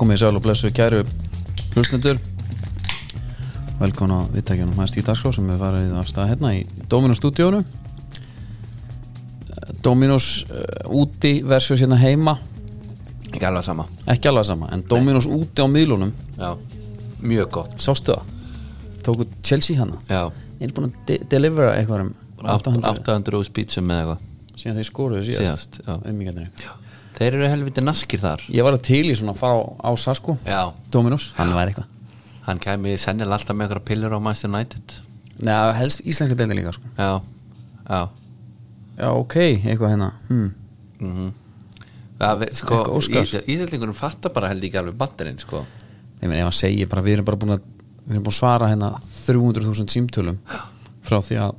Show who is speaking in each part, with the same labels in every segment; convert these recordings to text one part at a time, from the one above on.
Speaker 1: komið í sæl og blessu kæru hlustendur velkomin á vittækjanum hans í dagskrá sem við farið af stað hérna í Dominos stúdíónu Dominos uh, úti versus hérna heima
Speaker 2: Ekki alveg sama
Speaker 1: ekki alveg sama, en Dominos úti á miðlunum
Speaker 2: Já, mjög gott
Speaker 1: sástu það, tóku Chelsea hana
Speaker 2: Já,
Speaker 1: ég er búin að de delivera eitthvað um 800
Speaker 2: 800 úr spýtsum með eitthvað
Speaker 1: síðan þeir skoruðu síðast,
Speaker 2: Síðast, já.
Speaker 1: síðast
Speaker 2: Þeir eru helviti naskir þar
Speaker 1: ég var að til í svona að fara á, á Sasko
Speaker 2: Já,
Speaker 1: Dominos, hann var eitthvað
Speaker 2: hann kæmi sennilega alltaf með eitthvað pillur á Manchester United
Speaker 1: Nei, helst íslenska deildi líka sko.
Speaker 2: Já, já
Speaker 1: Já, ok, eitthvað hérna hmm.
Speaker 2: mm Það, við- sko,
Speaker 1: Eitthvað Óskar.
Speaker 2: Ís- Íslandingurum fattar bara held ekki alveg bandurinn sko.
Speaker 1: Ég meina, ef hann segir bara, við erum bara búin að við erum búin að svara hérna 300.000 símtölum frá því að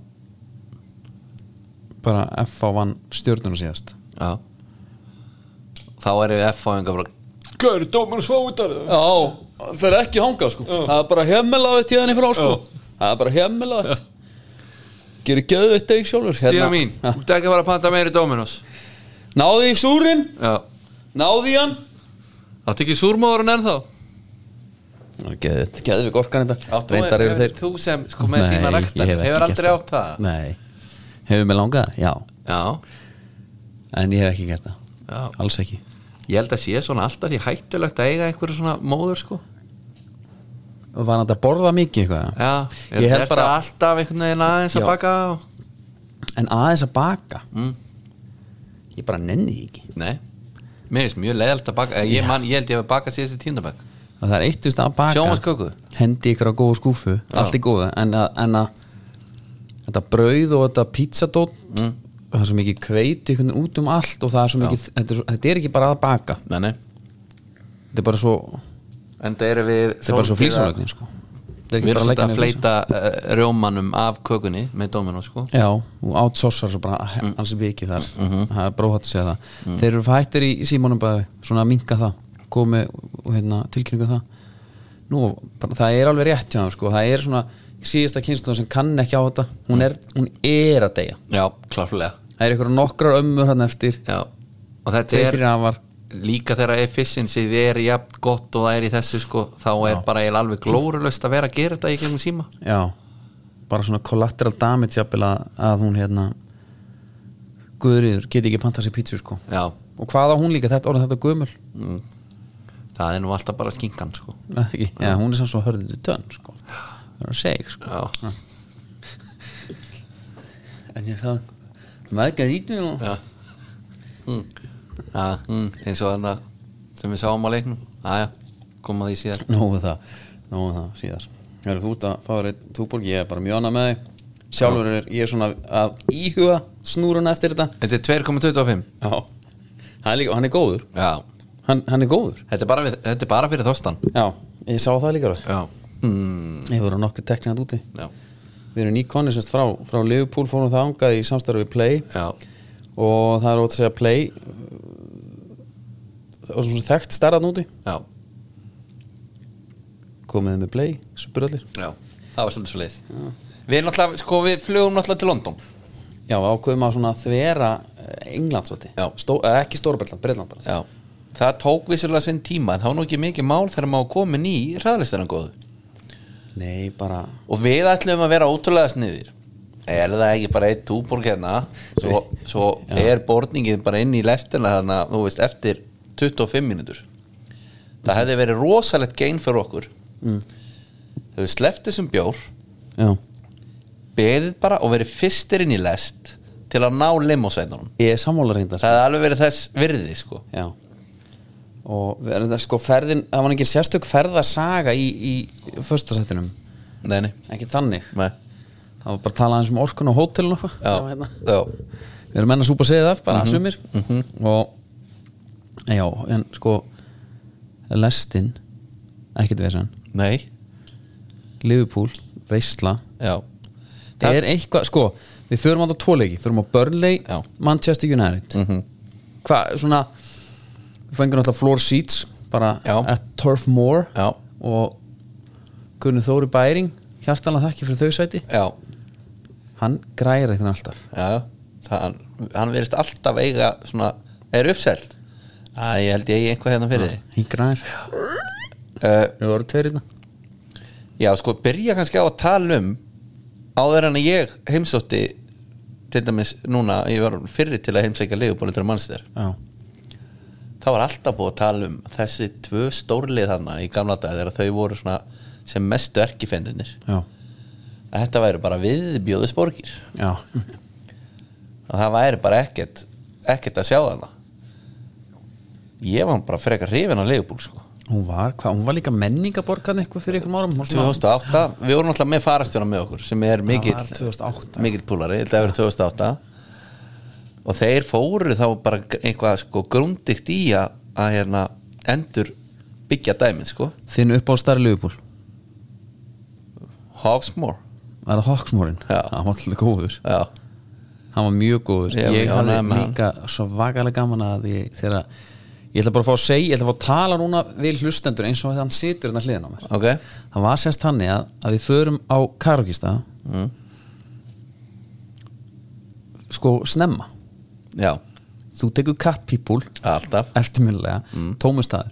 Speaker 1: bara F.A. vann stjörnuna síðast
Speaker 2: Já Þá eru F-fáingar bara Hvað eru dómarins fáutar?
Speaker 1: Já, fer ekki hangað sko Það er bara hemmelaðið tíðan í frá sko Það er bara hemmelaðið Gerir gæðu þetta ekki sjálfur hérna.
Speaker 2: Stíða mín, þú ert ekki að fara að panta meiri dóminos
Speaker 1: Náði í súrin,
Speaker 2: Já,
Speaker 1: náði í hann
Speaker 2: áttu ekki súrmóðurinn ennþá?
Speaker 1: Gæðu við gorkan þetta
Speaker 2: Áttu,
Speaker 1: Reyndar eru
Speaker 2: hefur
Speaker 1: þeir-
Speaker 2: þú sem, sko, með þína
Speaker 1: Nei,
Speaker 2: ræktar,
Speaker 1: ég hef ekki
Speaker 2: hefur
Speaker 1: gert
Speaker 2: aldrei átt það?
Speaker 1: Nei, hefur mig langað, já
Speaker 2: Já,
Speaker 1: En ég hef ekki gert það,
Speaker 2: já
Speaker 1: alls ekki
Speaker 2: Ég held að sé svona alltaf því hættulegt að eiga einhverju svona móður sko
Speaker 1: Og var hann að borða mikið eitthvað?
Speaker 2: Já,
Speaker 1: Ég held bara-
Speaker 2: þetta alltaf einhvern veginn aðeins
Speaker 1: Já.
Speaker 2: að baka og...
Speaker 1: En aðeins að baka,
Speaker 2: mm.
Speaker 1: ég bara nenni því ekki
Speaker 2: Nei, mér finnst mjög leiðalt að baka ég, man, ég held ég hef bakað síðast í tíndabæk
Speaker 1: Og það er eitt veist að baka
Speaker 2: Sjónvarpsköku?
Speaker 1: Hendi ykkur á góða skúfu, allt í góða En að, en að þetta brauð og þetta pizzadótt
Speaker 2: Mm.
Speaker 1: Það er svo mikið kveit ykkur út um allt Og það er svo mikið, þetta er, svo, þetta er ekki bara að baka
Speaker 2: Nei, nei
Speaker 1: Þetta er bara svo,
Speaker 2: En það eru við
Speaker 1: þetta er bara svo
Speaker 2: svolítið að-
Speaker 1: flýsálögnin sko Þetta er ekki
Speaker 2: Við
Speaker 1: bara
Speaker 2: erum svolítið
Speaker 1: leggja
Speaker 2: að
Speaker 1: niður flísa.
Speaker 2: fleita uh, rjómanum af kökunni með dóminu sko
Speaker 1: Já, og átsósar svo bara mm. ansi vikið þar
Speaker 2: Mhm.
Speaker 1: það er bróðhatt að segja það
Speaker 2: Mm.
Speaker 1: þeir eru fættir í símónum bara svona að minka það komi og hérna, tilkynningu það nú, bara, það er alveg rétt hjá þeim sko. það er svona síðasta kynslu sem kann ekki á þetta hún
Speaker 2: Mm.
Speaker 1: er, hún er að deyja
Speaker 2: Já, klárlega
Speaker 1: það er ykkur nokkrar ömmur hann eftir
Speaker 2: Já, og þetta
Speaker 1: þeir
Speaker 2: er
Speaker 1: fyrir afar
Speaker 2: líka þegar efficiency er jafn gott og það er í þessu sko þá er bara eiginlega alveg glórulöst að vera að gera þetta í gegnum síma
Speaker 1: já, bara svona collateral damage jafnvel að, að hún hérna guðriður, geti ekki pantað sér pítsu sko
Speaker 2: Já,
Speaker 1: og hvað á hún líka, þetta orðið þetta gömul
Speaker 2: það er nú alltaf bara skinkan sko
Speaker 1: Nei, ekki. Já, hún er samt svo hörðundu tönn sko. það er að segja sko.
Speaker 2: Já,
Speaker 1: en ég það meðgæð ítum og
Speaker 2: já mm. Já, mm, eins og þarna sem við sáum á leiknum Aja, koma því síðar
Speaker 1: nógu það, nógu það síðar Heru, þú ert að fá þér einn túborg, ég er bara mjög annað með þig sjálfur er ég svona að íhuga snúruna eftir þetta
Speaker 2: Þetta er 2,25
Speaker 1: já, hann er, líka, hann er góður
Speaker 2: Já,
Speaker 1: hann, hann er góður,
Speaker 2: þetta er bara, við, þetta er bara fyrir þostan
Speaker 1: já, ég sá það líka alveg.
Speaker 2: Já, mm,
Speaker 1: ég voru nokkuð teknir hann úti
Speaker 2: já,
Speaker 1: við erum nýkonni semst frá, frá Liverpool fórum það angað í samstarfi við Play
Speaker 2: já
Speaker 1: og það er ótt að segja Play uh, það var svona þekkt stærðan úti
Speaker 2: Já,
Speaker 1: komið með play, spyr allir
Speaker 2: já, það var svolítið svo leið Við erum náttúrulega, sko við flugum náttúrulega til London
Speaker 1: já, við ákveðum að svona þvera eh, England svolítið,
Speaker 2: Já.
Speaker 1: Stó, eh, ekki Stórbretland Bretland bara,
Speaker 2: Já, það tók vissulega sinn tíma en þá er nú ekki mikið mál þegar maður komin í hraðlistanum góðu
Speaker 1: nei bara
Speaker 2: og við ætlum að vera ótrúlega sniðir er það ekki bara eitt túborg hérna svo, svo er borningin bara inn í lestina þannig að þú veist eftir 25 mínútur það hefði verið rosalegt gein fyrir okkur
Speaker 1: Mm.
Speaker 2: þau sleft þessum bjór
Speaker 1: já.
Speaker 2: beðið bara og verið fyrstir inn í lest til að ná limosænunum
Speaker 1: ég er sammála reyndar
Speaker 2: það hefði alveg verið þess virði sko
Speaker 1: já og við erum það sko ferðin, það var ekki sérstök ferðasaga í, í föstasættinum,
Speaker 2: nei, nei,
Speaker 1: ekki þannig
Speaker 2: nei,
Speaker 1: það var bara að tala aðeins um orkun og hótelin og eitthvað.
Speaker 2: já,
Speaker 1: Já, Mhm. hérna.
Speaker 2: já.
Speaker 1: við erum enn að súpa segið af bara sumir og en já, en sko lestin, ekkert vesan
Speaker 2: nei.
Speaker 1: Liverpool, veistla
Speaker 2: Já
Speaker 1: það er eitthvað, sko, við förum á þetta tvoleiki förum á Burnley,
Speaker 2: Já.
Speaker 1: Manchester United
Speaker 2: Mhm.
Speaker 1: hvað, svona við fengum alltaf floor seats bara
Speaker 2: Já.
Speaker 1: at Turf Moor
Speaker 2: Já,
Speaker 1: og Gunni Þóri Bæring hjartalega þakki fyrir þau sæti
Speaker 2: já,
Speaker 1: hann græðir eitthvað alltaf
Speaker 2: já, já. Það, hann- Hann verist alltaf eiga svona Er uppselt Æ, ég held ég eigi eitthvað hérna fyrir þig
Speaker 1: hingra aðeins,
Speaker 2: uh,
Speaker 1: við vorum tveir hérna
Speaker 2: Já, sko, byrja kannski á að tala um áður en að ég heimsótti til dæmis núna, ég var fyrri til að heimsækja leigubólitur og mannstæður
Speaker 1: já,
Speaker 2: það var alltaf búið að tala um þessi tvö stórlið þarna í gamla dag þegar þau voru svona sem mestu erkifendunir
Speaker 1: já,
Speaker 2: að þetta væri bara viðbjóðis borgir
Speaker 1: já
Speaker 2: og það væri bara ekkert ekkert að sjá þarna ég var bara frekar hrifin á leigubúl sko
Speaker 1: hún var, hvað, hún var líka menningaborgan eitthvað fyrir einhverjum árum hún svona-
Speaker 2: 2008, við vorum alltaf með farastjóna með okkur sem er mikill
Speaker 1: var 2008.
Speaker 2: mikill púlari, ég held að það verið 2008 og þeir fóru þá bara eitthvað sko grúndikt í að, að hérna, endur byggja dæmið sko,
Speaker 1: þinn upp á starri lögubúl
Speaker 2: Hogsmore
Speaker 1: það er Hawksmorin,
Speaker 2: Já.
Speaker 1: hann var alltaf góður
Speaker 2: já,
Speaker 1: hann var mjög góður
Speaker 2: Ég-
Speaker 1: ég,
Speaker 2: ég
Speaker 1: hafði
Speaker 2: ánægður með hann.
Speaker 1: líka svakalega gaman að ég, þegar að- ég ætla bara að fá að segja, ég ætla að fá að tala núna við hlustendur eins og að hann situr hérna hliðin á mér
Speaker 2: ok
Speaker 1: það var sérst þannig að, að við förum á karokista
Speaker 2: Mm.
Speaker 1: sko snemma
Speaker 2: já,
Speaker 1: þú tekur cat people
Speaker 2: alltaf
Speaker 1: eftirminnilega, mm. tómustæður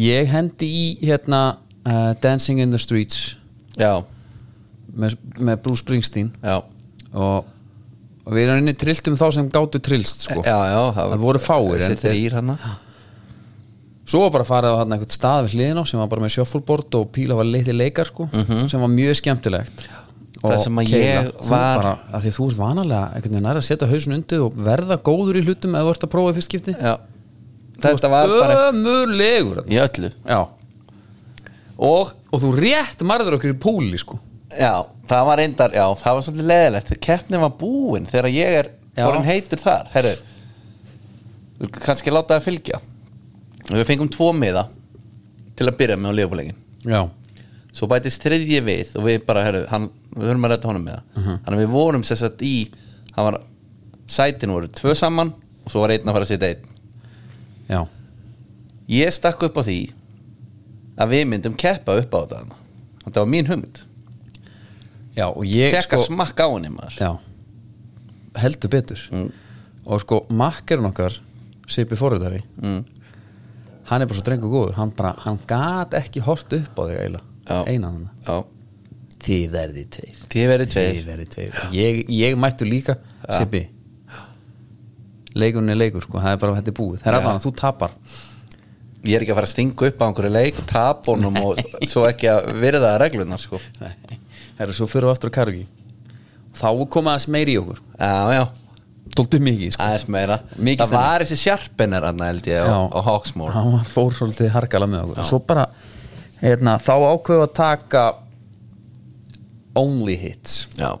Speaker 1: ég hendi í hérna uh, Dancing in the Streets
Speaker 2: já,
Speaker 1: með, með Bruce Springsteen
Speaker 2: já,
Speaker 1: og, og við erum inni trilltum þá sem gátu trillst sko.
Speaker 2: já, já
Speaker 1: Það voru fáir, en
Speaker 2: þessi hérna.
Speaker 1: þeir-
Speaker 2: þrýr hana
Speaker 1: svo var bara að fara á hann eitthvað stað við hliðin á sem var bara með shuffleboard og píla var leitið leikar sko, sem var mjög skemmtilegt Og
Speaker 2: Mhm. Það sem að
Speaker 1: Keila,
Speaker 2: ég
Speaker 1: þú
Speaker 2: var-
Speaker 1: bara, að því þú ert vanalega einhvern veginn er að setja hausin undir og verða góður í hlutum eða þú ert að prófa í fyrst skipti
Speaker 2: já, þetta var bara
Speaker 1: ömurlegur
Speaker 2: í öllu
Speaker 1: já.
Speaker 2: og
Speaker 1: og þú rétt marður okkur í púli sko.
Speaker 2: Já, það var reyndar, já, það var svolítið leðilegt Keppnin var búin þegar ég er
Speaker 1: Já.
Speaker 2: orðin heitur þar, herru Þú kannski láta það fylgja Við fengum tvo miða til að byrja með á leifbúleikin
Speaker 1: já,
Speaker 2: Svo bætist þriðji við og við bara, herru, hann, við höfum að redda honum með það
Speaker 1: Mhm.
Speaker 2: Þannig að við vorum sér satt í hann var, sætin voru tvö saman og svo var einn að fara að sitja einn
Speaker 1: já,
Speaker 2: Ég stakk upp á því að við myndum keppa upp á þetta Þetta var mín hugmynd
Speaker 1: já og ég
Speaker 2: Fekka sko... smakk á henni maður
Speaker 1: já, heldur betur og sko makkarinn okkar Sipi Forröðari
Speaker 2: mm.
Speaker 1: hann er bara svo drengur góður hann, bara, hann gat ekki hort upp á þig eiginlega
Speaker 2: Já.
Speaker 1: einan hann
Speaker 2: Já,
Speaker 1: þið verði tveir
Speaker 2: Þið verið tveir
Speaker 1: þið verði tveir ég, ég mættu líka Sipi leikunni er leikur sko það er bara þetta er búið það er
Speaker 2: Já.
Speaker 1: allan að þú tapar
Speaker 2: Ég er ekki að fara að stinga upp á einhverju leik og tapa honum og svo ekki að virða reglunar sko
Speaker 1: það er svo fyrir og aftur að kargi þá koma aðeins meiri í okkur
Speaker 2: Já, já,
Speaker 1: dóltið mikið sko
Speaker 2: aðeins meira
Speaker 1: Mikið
Speaker 2: Það
Speaker 1: stemning.
Speaker 2: var þessi sjarpenir hann held ég
Speaker 1: Já.
Speaker 2: og, og Hawksmore
Speaker 1: hann var fór svolítið harkala með okkur svo bara hérna, þá ákveðu að taka only hits
Speaker 2: Já,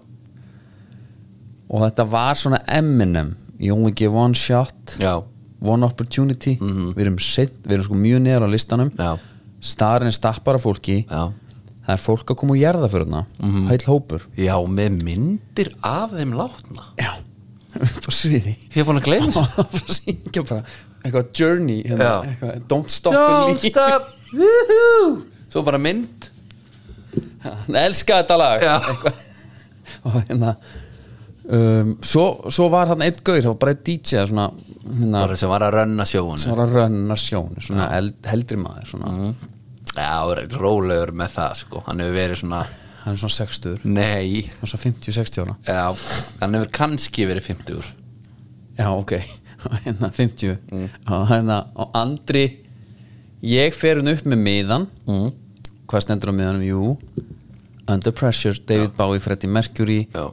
Speaker 1: og þetta var svona Eminem you only give one shot
Speaker 2: já,
Speaker 1: one opportunity við, erum set, við erum sko mjög neðar á listanum
Speaker 2: Mhm. já,
Speaker 1: starinn stappar af fólki
Speaker 2: já Mhm.
Speaker 1: það er fólk að koma úr jarðaförðuna mm -hmm. heil hópur
Speaker 2: Já, með myndir af þeim látna
Speaker 1: já, frá sviði
Speaker 2: Ég er búin að gleyma þessu
Speaker 1: frá syngja bara eitthvað journey
Speaker 2: Já.
Speaker 1: hérna, eitthvað, don't stop
Speaker 2: Don't
Speaker 1: believe.
Speaker 2: stop Woohoo Svo bara mynd
Speaker 1: hann elskaði þetta lag
Speaker 2: Já.
Speaker 1: Eitthvað. og hérna um, svo, svo var hann einn gaur það var bara einn DJ eða svona, hérna,
Speaker 2: Bara sem var að rönna
Speaker 1: sem
Speaker 2: sjóun
Speaker 1: var að rönna sjón svona eld, heldri maður svona,
Speaker 2: Mm. Já, rólegur með það sko Hann hefur verið svona
Speaker 1: hann er svona 60 hann
Speaker 2: Nei,
Speaker 1: er svona 50-60 ára
Speaker 2: já, hann hefur kannski verið 50 úr
Speaker 1: já ok, hérna 50 og hérna og Andri ég fer hann upp með miðan mm. hvað stendur á miðanum, jú Under Pressure, David Bowie, Freddie Mercury
Speaker 2: Já,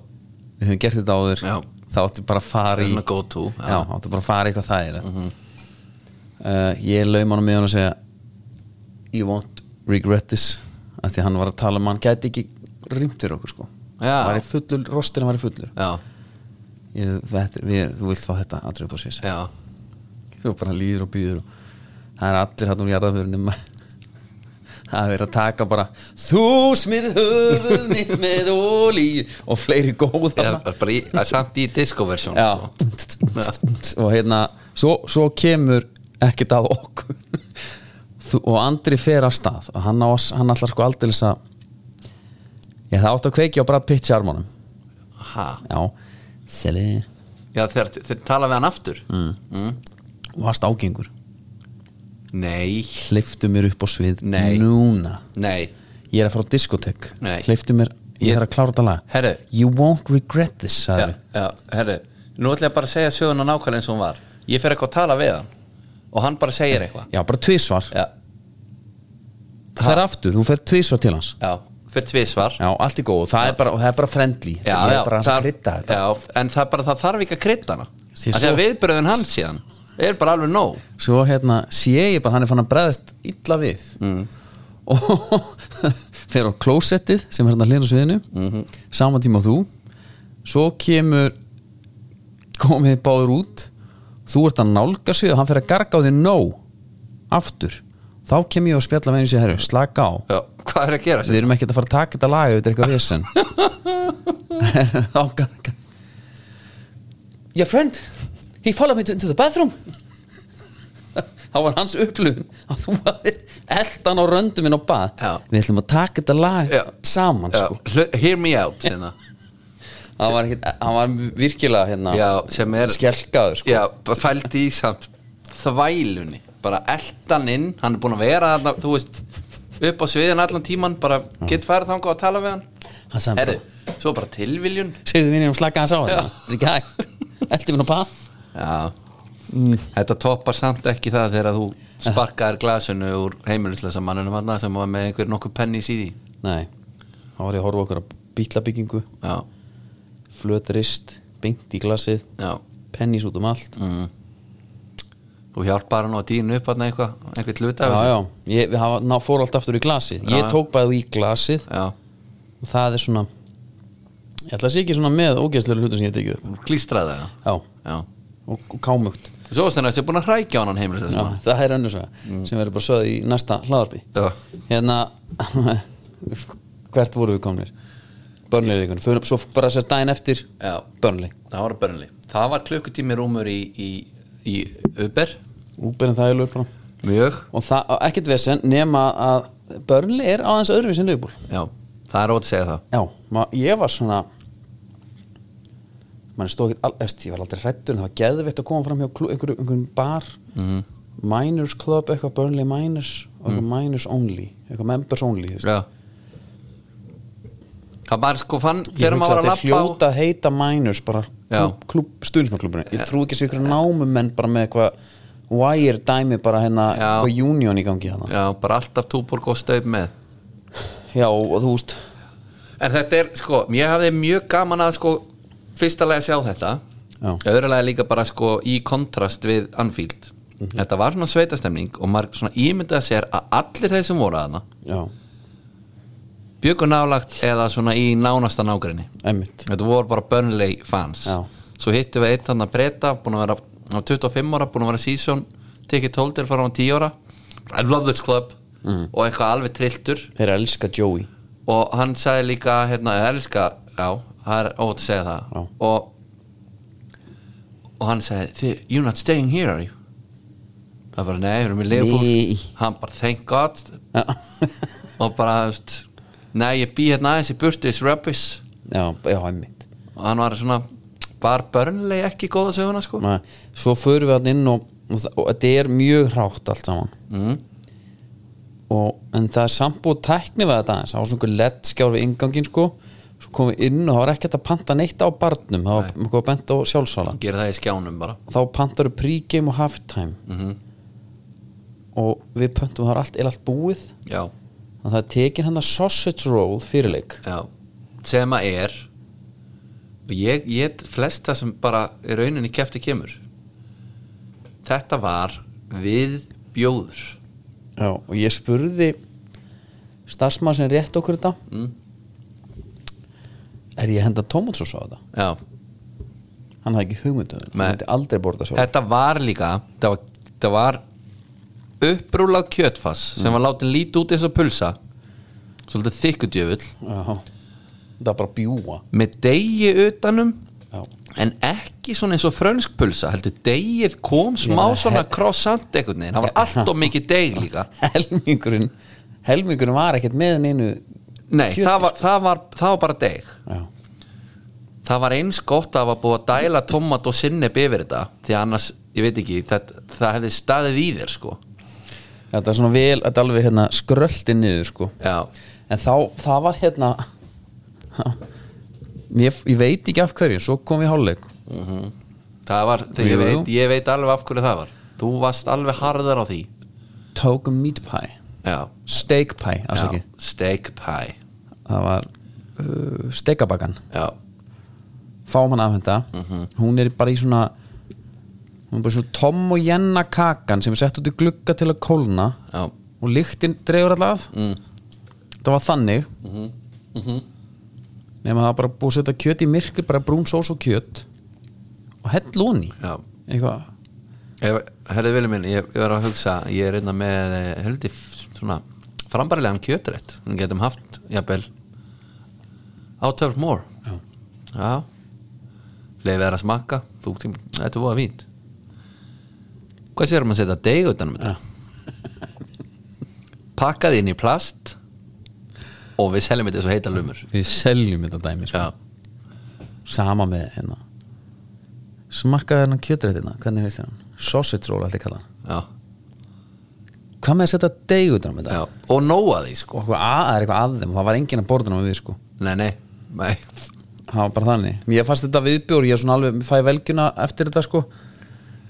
Speaker 1: við höfum gert þetta áður
Speaker 2: Já.
Speaker 1: þá áttu bara að fara í
Speaker 2: Svona go to, já. Mhm.
Speaker 1: já. áttu bara að fara í hvað það er uh, ég laum hann með hann og segja you won't regret this af því að hann var að tala um að hann gæti ekki rýmt fyrir okkur sko
Speaker 2: Já.
Speaker 1: Væri fullur, rostirinn var fullur
Speaker 2: já,
Speaker 1: ég, þetta, er- við, þú vilt fá þetta aðrið upp á sér
Speaker 2: já
Speaker 1: og bara líður og býður og það er allir hann úr jarðaförunum það er verið að taka bara þú smyrð höfuð mitt með ólíu og fleiri góð
Speaker 2: Já, bara í, að samt í discoversjón
Speaker 1: Já. og hérna svo, svo kemur ekkert að okkur Þú- og Andri fer af stað og hann, á, að- hann allar sko aldrei að ég það átt að kveiki á Brad Pitt sjarmónum
Speaker 2: ha,
Speaker 1: já, seli
Speaker 2: já þeir, þeir tala við hann aftur mm.
Speaker 1: og varst ágengur
Speaker 2: Nei,
Speaker 1: hleyftu mér upp á svið
Speaker 2: Nei.
Speaker 1: núna
Speaker 2: nei
Speaker 1: ég er að fara á diskotek
Speaker 2: Nei.
Speaker 1: hleyftu mér, ég,
Speaker 2: Ég-
Speaker 1: þarf að klára þetta lag
Speaker 2: Herru.
Speaker 1: you won't regret this
Speaker 2: já,
Speaker 1: sagði
Speaker 2: já, herru, nú ætla ég bara að segja söguna nákvæmlega eins og hún var Ég fer eitthvað að tala við hann og hann bara segir eitthvað
Speaker 1: já, já bara tvísvar,
Speaker 2: Já,
Speaker 1: það er aftur þú fer tvísvar til hans
Speaker 2: já, fyrir tvisvar
Speaker 1: já, allt í góð, það, er bara, og það er bara friendly
Speaker 2: Já,
Speaker 1: ég
Speaker 2: já,
Speaker 1: er bara að krydda þetta
Speaker 2: já, en það, er bara, það þarf ekki að krydda hana
Speaker 1: Sér
Speaker 2: Þannig
Speaker 1: svo-
Speaker 2: að viðbröðin hans síðan er bara alveg nóg
Speaker 1: svo hérna sé ég bara hann er fann að bregðast illa við mm. og fer á klósettið sem er hérna hlýra sviðinu mm -hmm. sama tíma og þú svo kemur komið þið báður út þú ert að nálga svið og hann fer að garga á því nóg aftur þá kem ég og spjalla með henni sér herru, slaka á
Speaker 2: já, Hvað er að gera
Speaker 1: við erum ekkert að fara að taka þetta lag ef þetta er eitthvað vesen þá garga your friend he followed me to, into the bathroom þá var hans upplifun að þú hafði eldan á röndum minn á bað
Speaker 2: Já.
Speaker 1: við ætlum að taka þetta lag
Speaker 2: Já.
Speaker 1: saman
Speaker 2: Já,
Speaker 1: sko.
Speaker 2: hlu- Hear me out sína.
Speaker 1: hann, var ekkit, hann var virkilega hérna,
Speaker 2: Já, sem er
Speaker 1: skelkaður sko.
Speaker 2: Já, bara fældi í samt þvælunni bara eldan inn, hann er búin að vera þarna, þú veist, upp á sviðin allan tíman, bara get farið þangað að tala við hann
Speaker 1: hann sagði
Speaker 2: Herri,
Speaker 1: bara
Speaker 2: svo bara tilviljun
Speaker 1: segðu vinninum slaka hans á þetta er ekki hægt eldi minn á bað
Speaker 2: Já Mm. Þetta toppar samt ekki það þegar þú sparkaðir glasinu úr heimilislega mannunum hann sem var með einhver nokkuð pennis í því
Speaker 1: nei, þá var ég að horfa okkur á bílabyggingu
Speaker 2: Já,
Speaker 1: flötrist, bengt í glasið
Speaker 2: já
Speaker 1: pennis út um allt
Speaker 2: mm. Þú hjálpar hann og dýnu upp hann eitthvað, einhvern hluta
Speaker 1: já, já, ég við hafa, ná, fór allt aftur í glasið
Speaker 2: Já,
Speaker 1: ég
Speaker 2: já.
Speaker 1: tók bæðu í glasið
Speaker 2: já
Speaker 1: og það er svona ég ætla að sé ekki svona með ógeðslega hlutum sem ég hef tekið upp
Speaker 2: Klístraði það
Speaker 1: já,
Speaker 2: Já
Speaker 1: og, og kámugt
Speaker 2: Svo sem þessi er búin að hrækja á hann heimilislega
Speaker 1: já, það er Mm. önnur svo sem verður bara sögð í næsta hlaðarpi
Speaker 2: Já.
Speaker 1: hérna hvert voru við komnir börnlega leikunum, Förum- svo bara sérst daginn eftir
Speaker 2: Já.
Speaker 1: börnlega,
Speaker 2: Það var börnli Það var klukkutími rúmur í, í, í Uber
Speaker 1: úberinn það er lögbúl
Speaker 2: Mjög
Speaker 1: og það, og ekkert vesen nema að börnlega er aðeins öðruvísin lögbúl
Speaker 2: Já, það er ótt að segja það
Speaker 1: Já, ma, ég var svona mann stóð ekki alveg ég var aldrei hrættur en það var geðvitt að koma fram hjá klú, einhverju, einhverjum bar
Speaker 2: Mhm.
Speaker 1: -hmm. Miners Club, eitthvað Burnley Miners og eitthvað Miners Only, eitthvað Members Only þú veist.
Speaker 2: Já Það var sko fann
Speaker 1: ég
Speaker 2: þegar
Speaker 1: hugsa að
Speaker 2: maður var
Speaker 1: þeir
Speaker 2: að lappa
Speaker 1: hljóta að heita Miners bara
Speaker 2: Já.
Speaker 1: klub, klub, stuðnismaklubinu ég trú ekki sér ykkur námumenn bara með eitthvað wire dæmi bara hérna
Speaker 2: Já.
Speaker 1: eitthvað union í gangi hérna
Speaker 2: Já, bara alltaf túborg og staup með
Speaker 1: já og þú veist
Speaker 2: En þetta er, sko, ég hafði mjög gaman að sko, fyrsta lega sjá þetta
Speaker 1: Já.
Speaker 2: öðrulega líka bara sko í kontrast við Anfield
Speaker 1: Mhm.
Speaker 2: Þetta var svona sveitastemning og maður svona ímyndaði sér að allir þeir sem voru að hana
Speaker 1: já,
Speaker 2: byggur nálagt eða svona í nánasta nágrinni
Speaker 1: emmitt
Speaker 2: Þetta voru bara Burnley fans
Speaker 1: Já.
Speaker 2: Svo hittum við einn hann að breyta búin að vera á 25 ára, búin að vera season tekið 12 til fara á 10 ára I love this club
Speaker 1: Mm.
Speaker 2: og eitthvað alveg trilltur
Speaker 1: þeir elska Joey
Speaker 2: og hann sagði líka hérna, ég elska, já, það er ótt að segja það
Speaker 1: Já.
Speaker 2: og og hann sagði "Þi- you're not staying here are you það bara nei, við erum í
Speaker 1: Nei.
Speaker 2: Liverpool hann bara thank god
Speaker 1: já,
Speaker 2: og bara, þú veist, nei ég bý hérna aðeins í burtu, it's rubbish
Speaker 1: já, já emmitt
Speaker 2: og hann var svona bara börnlega ekki góða söguna sko
Speaker 1: Nei, svo förum við hann inn og, og, það- og þetta er mjög hrátt allt saman
Speaker 2: mm.
Speaker 1: og, en það er samt búið tækni við þetta aðeins, það var svona einhver lettskjár við ingangin sko, svo komum við inn og það var ekkert að panta neitt á barnum, það var eitthvað bent á sjálfsala
Speaker 2: gera það í skjánum bara
Speaker 1: og þá pantaru pregame og halftime og við pöntum það var allt, er allt búið
Speaker 2: já,
Speaker 1: þannig að það er tekin hann að sausage roll fyrirleik
Speaker 2: já, sem að er og ég, ég flesta sem bara í rauninni kefti kemur þetta var við bjóður
Speaker 1: Já, og ég spurði starfsmann sem rétt okkur þetta er ég að henda tomatsós á þetta?
Speaker 2: já,
Speaker 1: hann hafði ekki hugmyndu hann
Speaker 2: Nei.
Speaker 1: hafði aldrei borða sjálf
Speaker 2: þetta var líka það var, það var upprúlað kjötfass sem var látin lítið út eins og pulsa svolítið þykkudjöfull
Speaker 1: Já. það var bara bjúa
Speaker 2: með degi utanum
Speaker 1: Já.
Speaker 2: en ekki svona eins og frönsk pulsa heldur degið kom smá
Speaker 1: meina,
Speaker 2: svona croissant einhvern veginn, það var allt og mikið deg líka
Speaker 1: helmingurinn helmingurinn var ekkert með neinu
Speaker 2: nei,
Speaker 1: Kjötið,
Speaker 2: það var, það, var, það var bara deg
Speaker 1: Já.
Speaker 2: það var eins gott að það var búið að dæla tomat og sinneb yfir þetta því að annars, ég veit ekki, það, það hefði staðið í þér sko
Speaker 1: þetta er svona vel, þetta er alveg hérna skröldi niður sko
Speaker 2: Já,
Speaker 1: en þá, það var hérna ég, ég veit ekki af hverju svo kom við hálfleik
Speaker 2: það var, þegar ég
Speaker 1: Jú, jú.
Speaker 2: veit, ég veit alveg af hverju það var Þú varst alveg harðar á því
Speaker 1: tókum meat pie,
Speaker 2: Já,
Speaker 1: steak pie
Speaker 2: já
Speaker 1: afsakið.
Speaker 2: steak pie
Speaker 1: það var uh, steikabakan
Speaker 2: Já,
Speaker 1: fáum hann afhenda
Speaker 2: Mhm.
Speaker 1: hún er bara í svona hún er bara svona tom og jenna kakan sem er sett út í glugga til að kólna
Speaker 2: já,
Speaker 1: og lyktin dregur alltaf mm. það var þannig
Speaker 2: Mhm.
Speaker 1: nema það var bara búið að setja kjöt í myrkur bara brún sós og kjöt og hell lóni
Speaker 2: já
Speaker 1: eitthvað
Speaker 2: Ef- Herðu Vili minn, ég, ég var að hugsa Ég er einna með, eh, heldur f- svona frambarilegan kjötrétt Við getum haft, jafnvel Out of more Já, já. Leifið er að smakka Þú, tím- Þetta er voða fínt Hvað sér maður að setja deig utan um þetta? Pakkaði inn í plast Og við seljum þetta svo heita lumur
Speaker 1: við seljum þetta dæmi sko.
Speaker 2: Já,
Speaker 1: sama með hérna smakkaði hérna kjötrættina hvernig veist hérna sausage roll allt ég kalla hann
Speaker 2: já,
Speaker 1: hvað með að setja deig út á þetta
Speaker 2: já Og nóa því sko
Speaker 1: og eitthvað að, það er eitthvað að þeim og það var enginn að borða með við sko
Speaker 2: Nei, nei, nei
Speaker 1: það var bara þannig mér fannst þetta viðbjór ég er svona alveg fæ velgjuna eftir þetta sko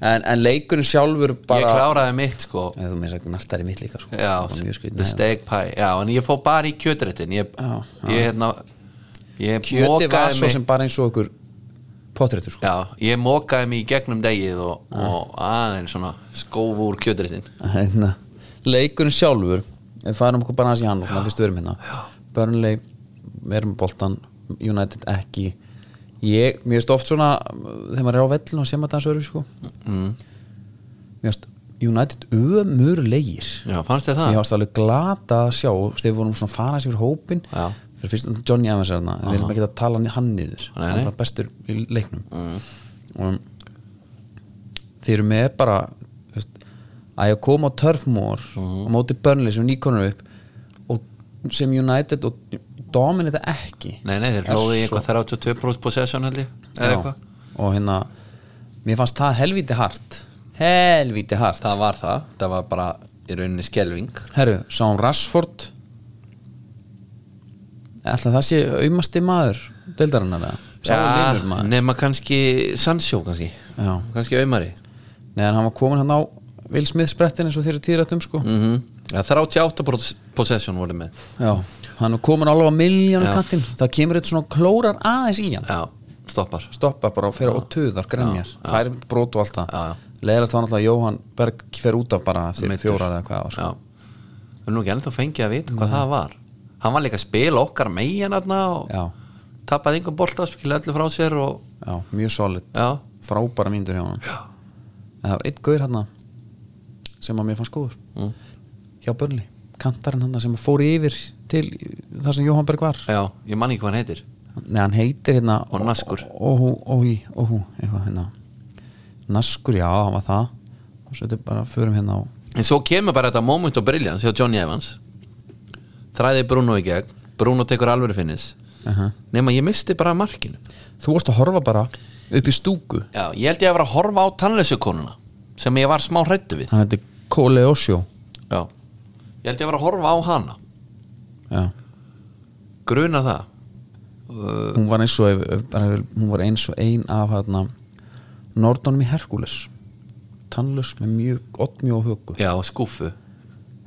Speaker 1: en, en leikurinn sjálfur
Speaker 2: Ég
Speaker 1: bara
Speaker 2: kláraði mitt sko
Speaker 1: Eða þú meins að nartar í mitt líka sko
Speaker 2: Já,
Speaker 1: Það var mjög skrýtna
Speaker 2: the steak pie Já, en ég fór bara í kjötréttin Ég,
Speaker 1: Já,
Speaker 2: ég hérna Ég
Speaker 1: kjöti var
Speaker 2: mokaði
Speaker 1: svo
Speaker 2: mig
Speaker 1: sem bara eins og okkur potréttur sko
Speaker 2: Já, ég mokaði mig í gegnum degið og, og aðeins svona skóf úr kjötréttin
Speaker 1: hérna, leikurinn sjálfur við færum okkur bara aðeins í hann og svona fyrst við erum hérna Burnley, við erum með boltan United ekki ég, mér veist oft svona uh, þegar maður er á vellinu og sé maður þessu öru sko
Speaker 2: Mm.
Speaker 1: mér veist United ömurlegir
Speaker 2: Já, fannst
Speaker 1: ég
Speaker 2: þér það?
Speaker 1: varst alveg glata að sjá þegar við vorum svona að fara sér hópin
Speaker 2: Já.
Speaker 1: fyrir fyrst Johnny Evans er þarna en við erum ekki að tala hann- hann niður
Speaker 2: Nei,
Speaker 1: hann
Speaker 2: nei. Mm.
Speaker 1: er bara bestur í leiknum og þeir eru með bara þú veist, að ég kom á Turfmore
Speaker 2: Mhm.
Speaker 1: á móti Burnley sem nýkonur upp og sem United og dominita ekki
Speaker 2: Nei, nei, þeir
Speaker 1: Er
Speaker 2: hlóðu í
Speaker 1: svo-
Speaker 2: eitthvað 32% possession held ég Eða
Speaker 1: Já.
Speaker 2: eitthvað
Speaker 1: og hérna mér fannst það helvíti hart helvíti hart
Speaker 2: Það var það, það var bara í rauninni skelving
Speaker 1: Herru, sáum Rashford Ætla það sé aumasti maður deildarinnar eða Sáum
Speaker 2: Já,
Speaker 1: vinur maður
Speaker 2: nema kannski Sandsjó kannski
Speaker 1: Já,
Speaker 2: Kannski aumari
Speaker 1: neðan hann var komin hann á Will Smith sprettin eins og þeir eru tíðrættum sko
Speaker 2: mm -hmm. 38% possession voru með
Speaker 1: Já, hann var komin alveg á miljónu
Speaker 2: Já.
Speaker 1: kantinn Það kemur eitt svona klórar aðeins í hann
Speaker 2: Já, stoppar
Speaker 1: Stoppa bara og fer og töðar, grenjar Fær brot og allt
Speaker 2: Já, já.
Speaker 1: það Leðilegt þá náttúrulega Jóhann Berg fer út af bara eftir
Speaker 2: Meiddur.
Speaker 1: fjórar eða hvað það var sko.
Speaker 2: Já Við erum nú ekki ennþá fengið að vita hvað það var Hann var líka að spila okkar megin aðna og
Speaker 1: Já,
Speaker 2: tappaði einhver bolta spilaði öllu frá sér og
Speaker 1: já, mjög solid
Speaker 2: já,
Speaker 1: Frábæra myndur hjá hann
Speaker 2: já,
Speaker 1: en það var einn gaur hann sem að mér fannst góður
Speaker 2: Mm.
Speaker 1: hjá Börnli, kantarinn hann sem fór yfir til það sem Jóhann Berg var
Speaker 2: já ég man ekki hvað hann heitir
Speaker 1: Nei, hann heitir hérna
Speaker 2: Og Naskur.
Speaker 1: Óhú, óhú, óhú, eitthvað hérna Naskur, já, hann var það og svo þetta er bara, förum hérna á
Speaker 2: En svo kemur bara þetta moment of brilliance hjá Johnny Evans Þræði Bruno í gegn Bruno tekur alveg finnis
Speaker 1: uh
Speaker 2: Nefn að ég misti bara markinu
Speaker 1: Þú varst að horfa bara upp í stúku
Speaker 2: Já, ég held ég að vera að horfa á tannleysukonuna sem ég var smá hrættu við
Speaker 1: hann heitir Kole Osho
Speaker 2: Já, ég held ég að vera að horfa á hana
Speaker 1: já.
Speaker 2: Gruna það uh,
Speaker 1: hún var eins og ef- ef- bara ef- hún var eins og ein af hérna Nordónum í Herkules tannlaus með mjög, oddmjóð höku
Speaker 2: Já, skúfu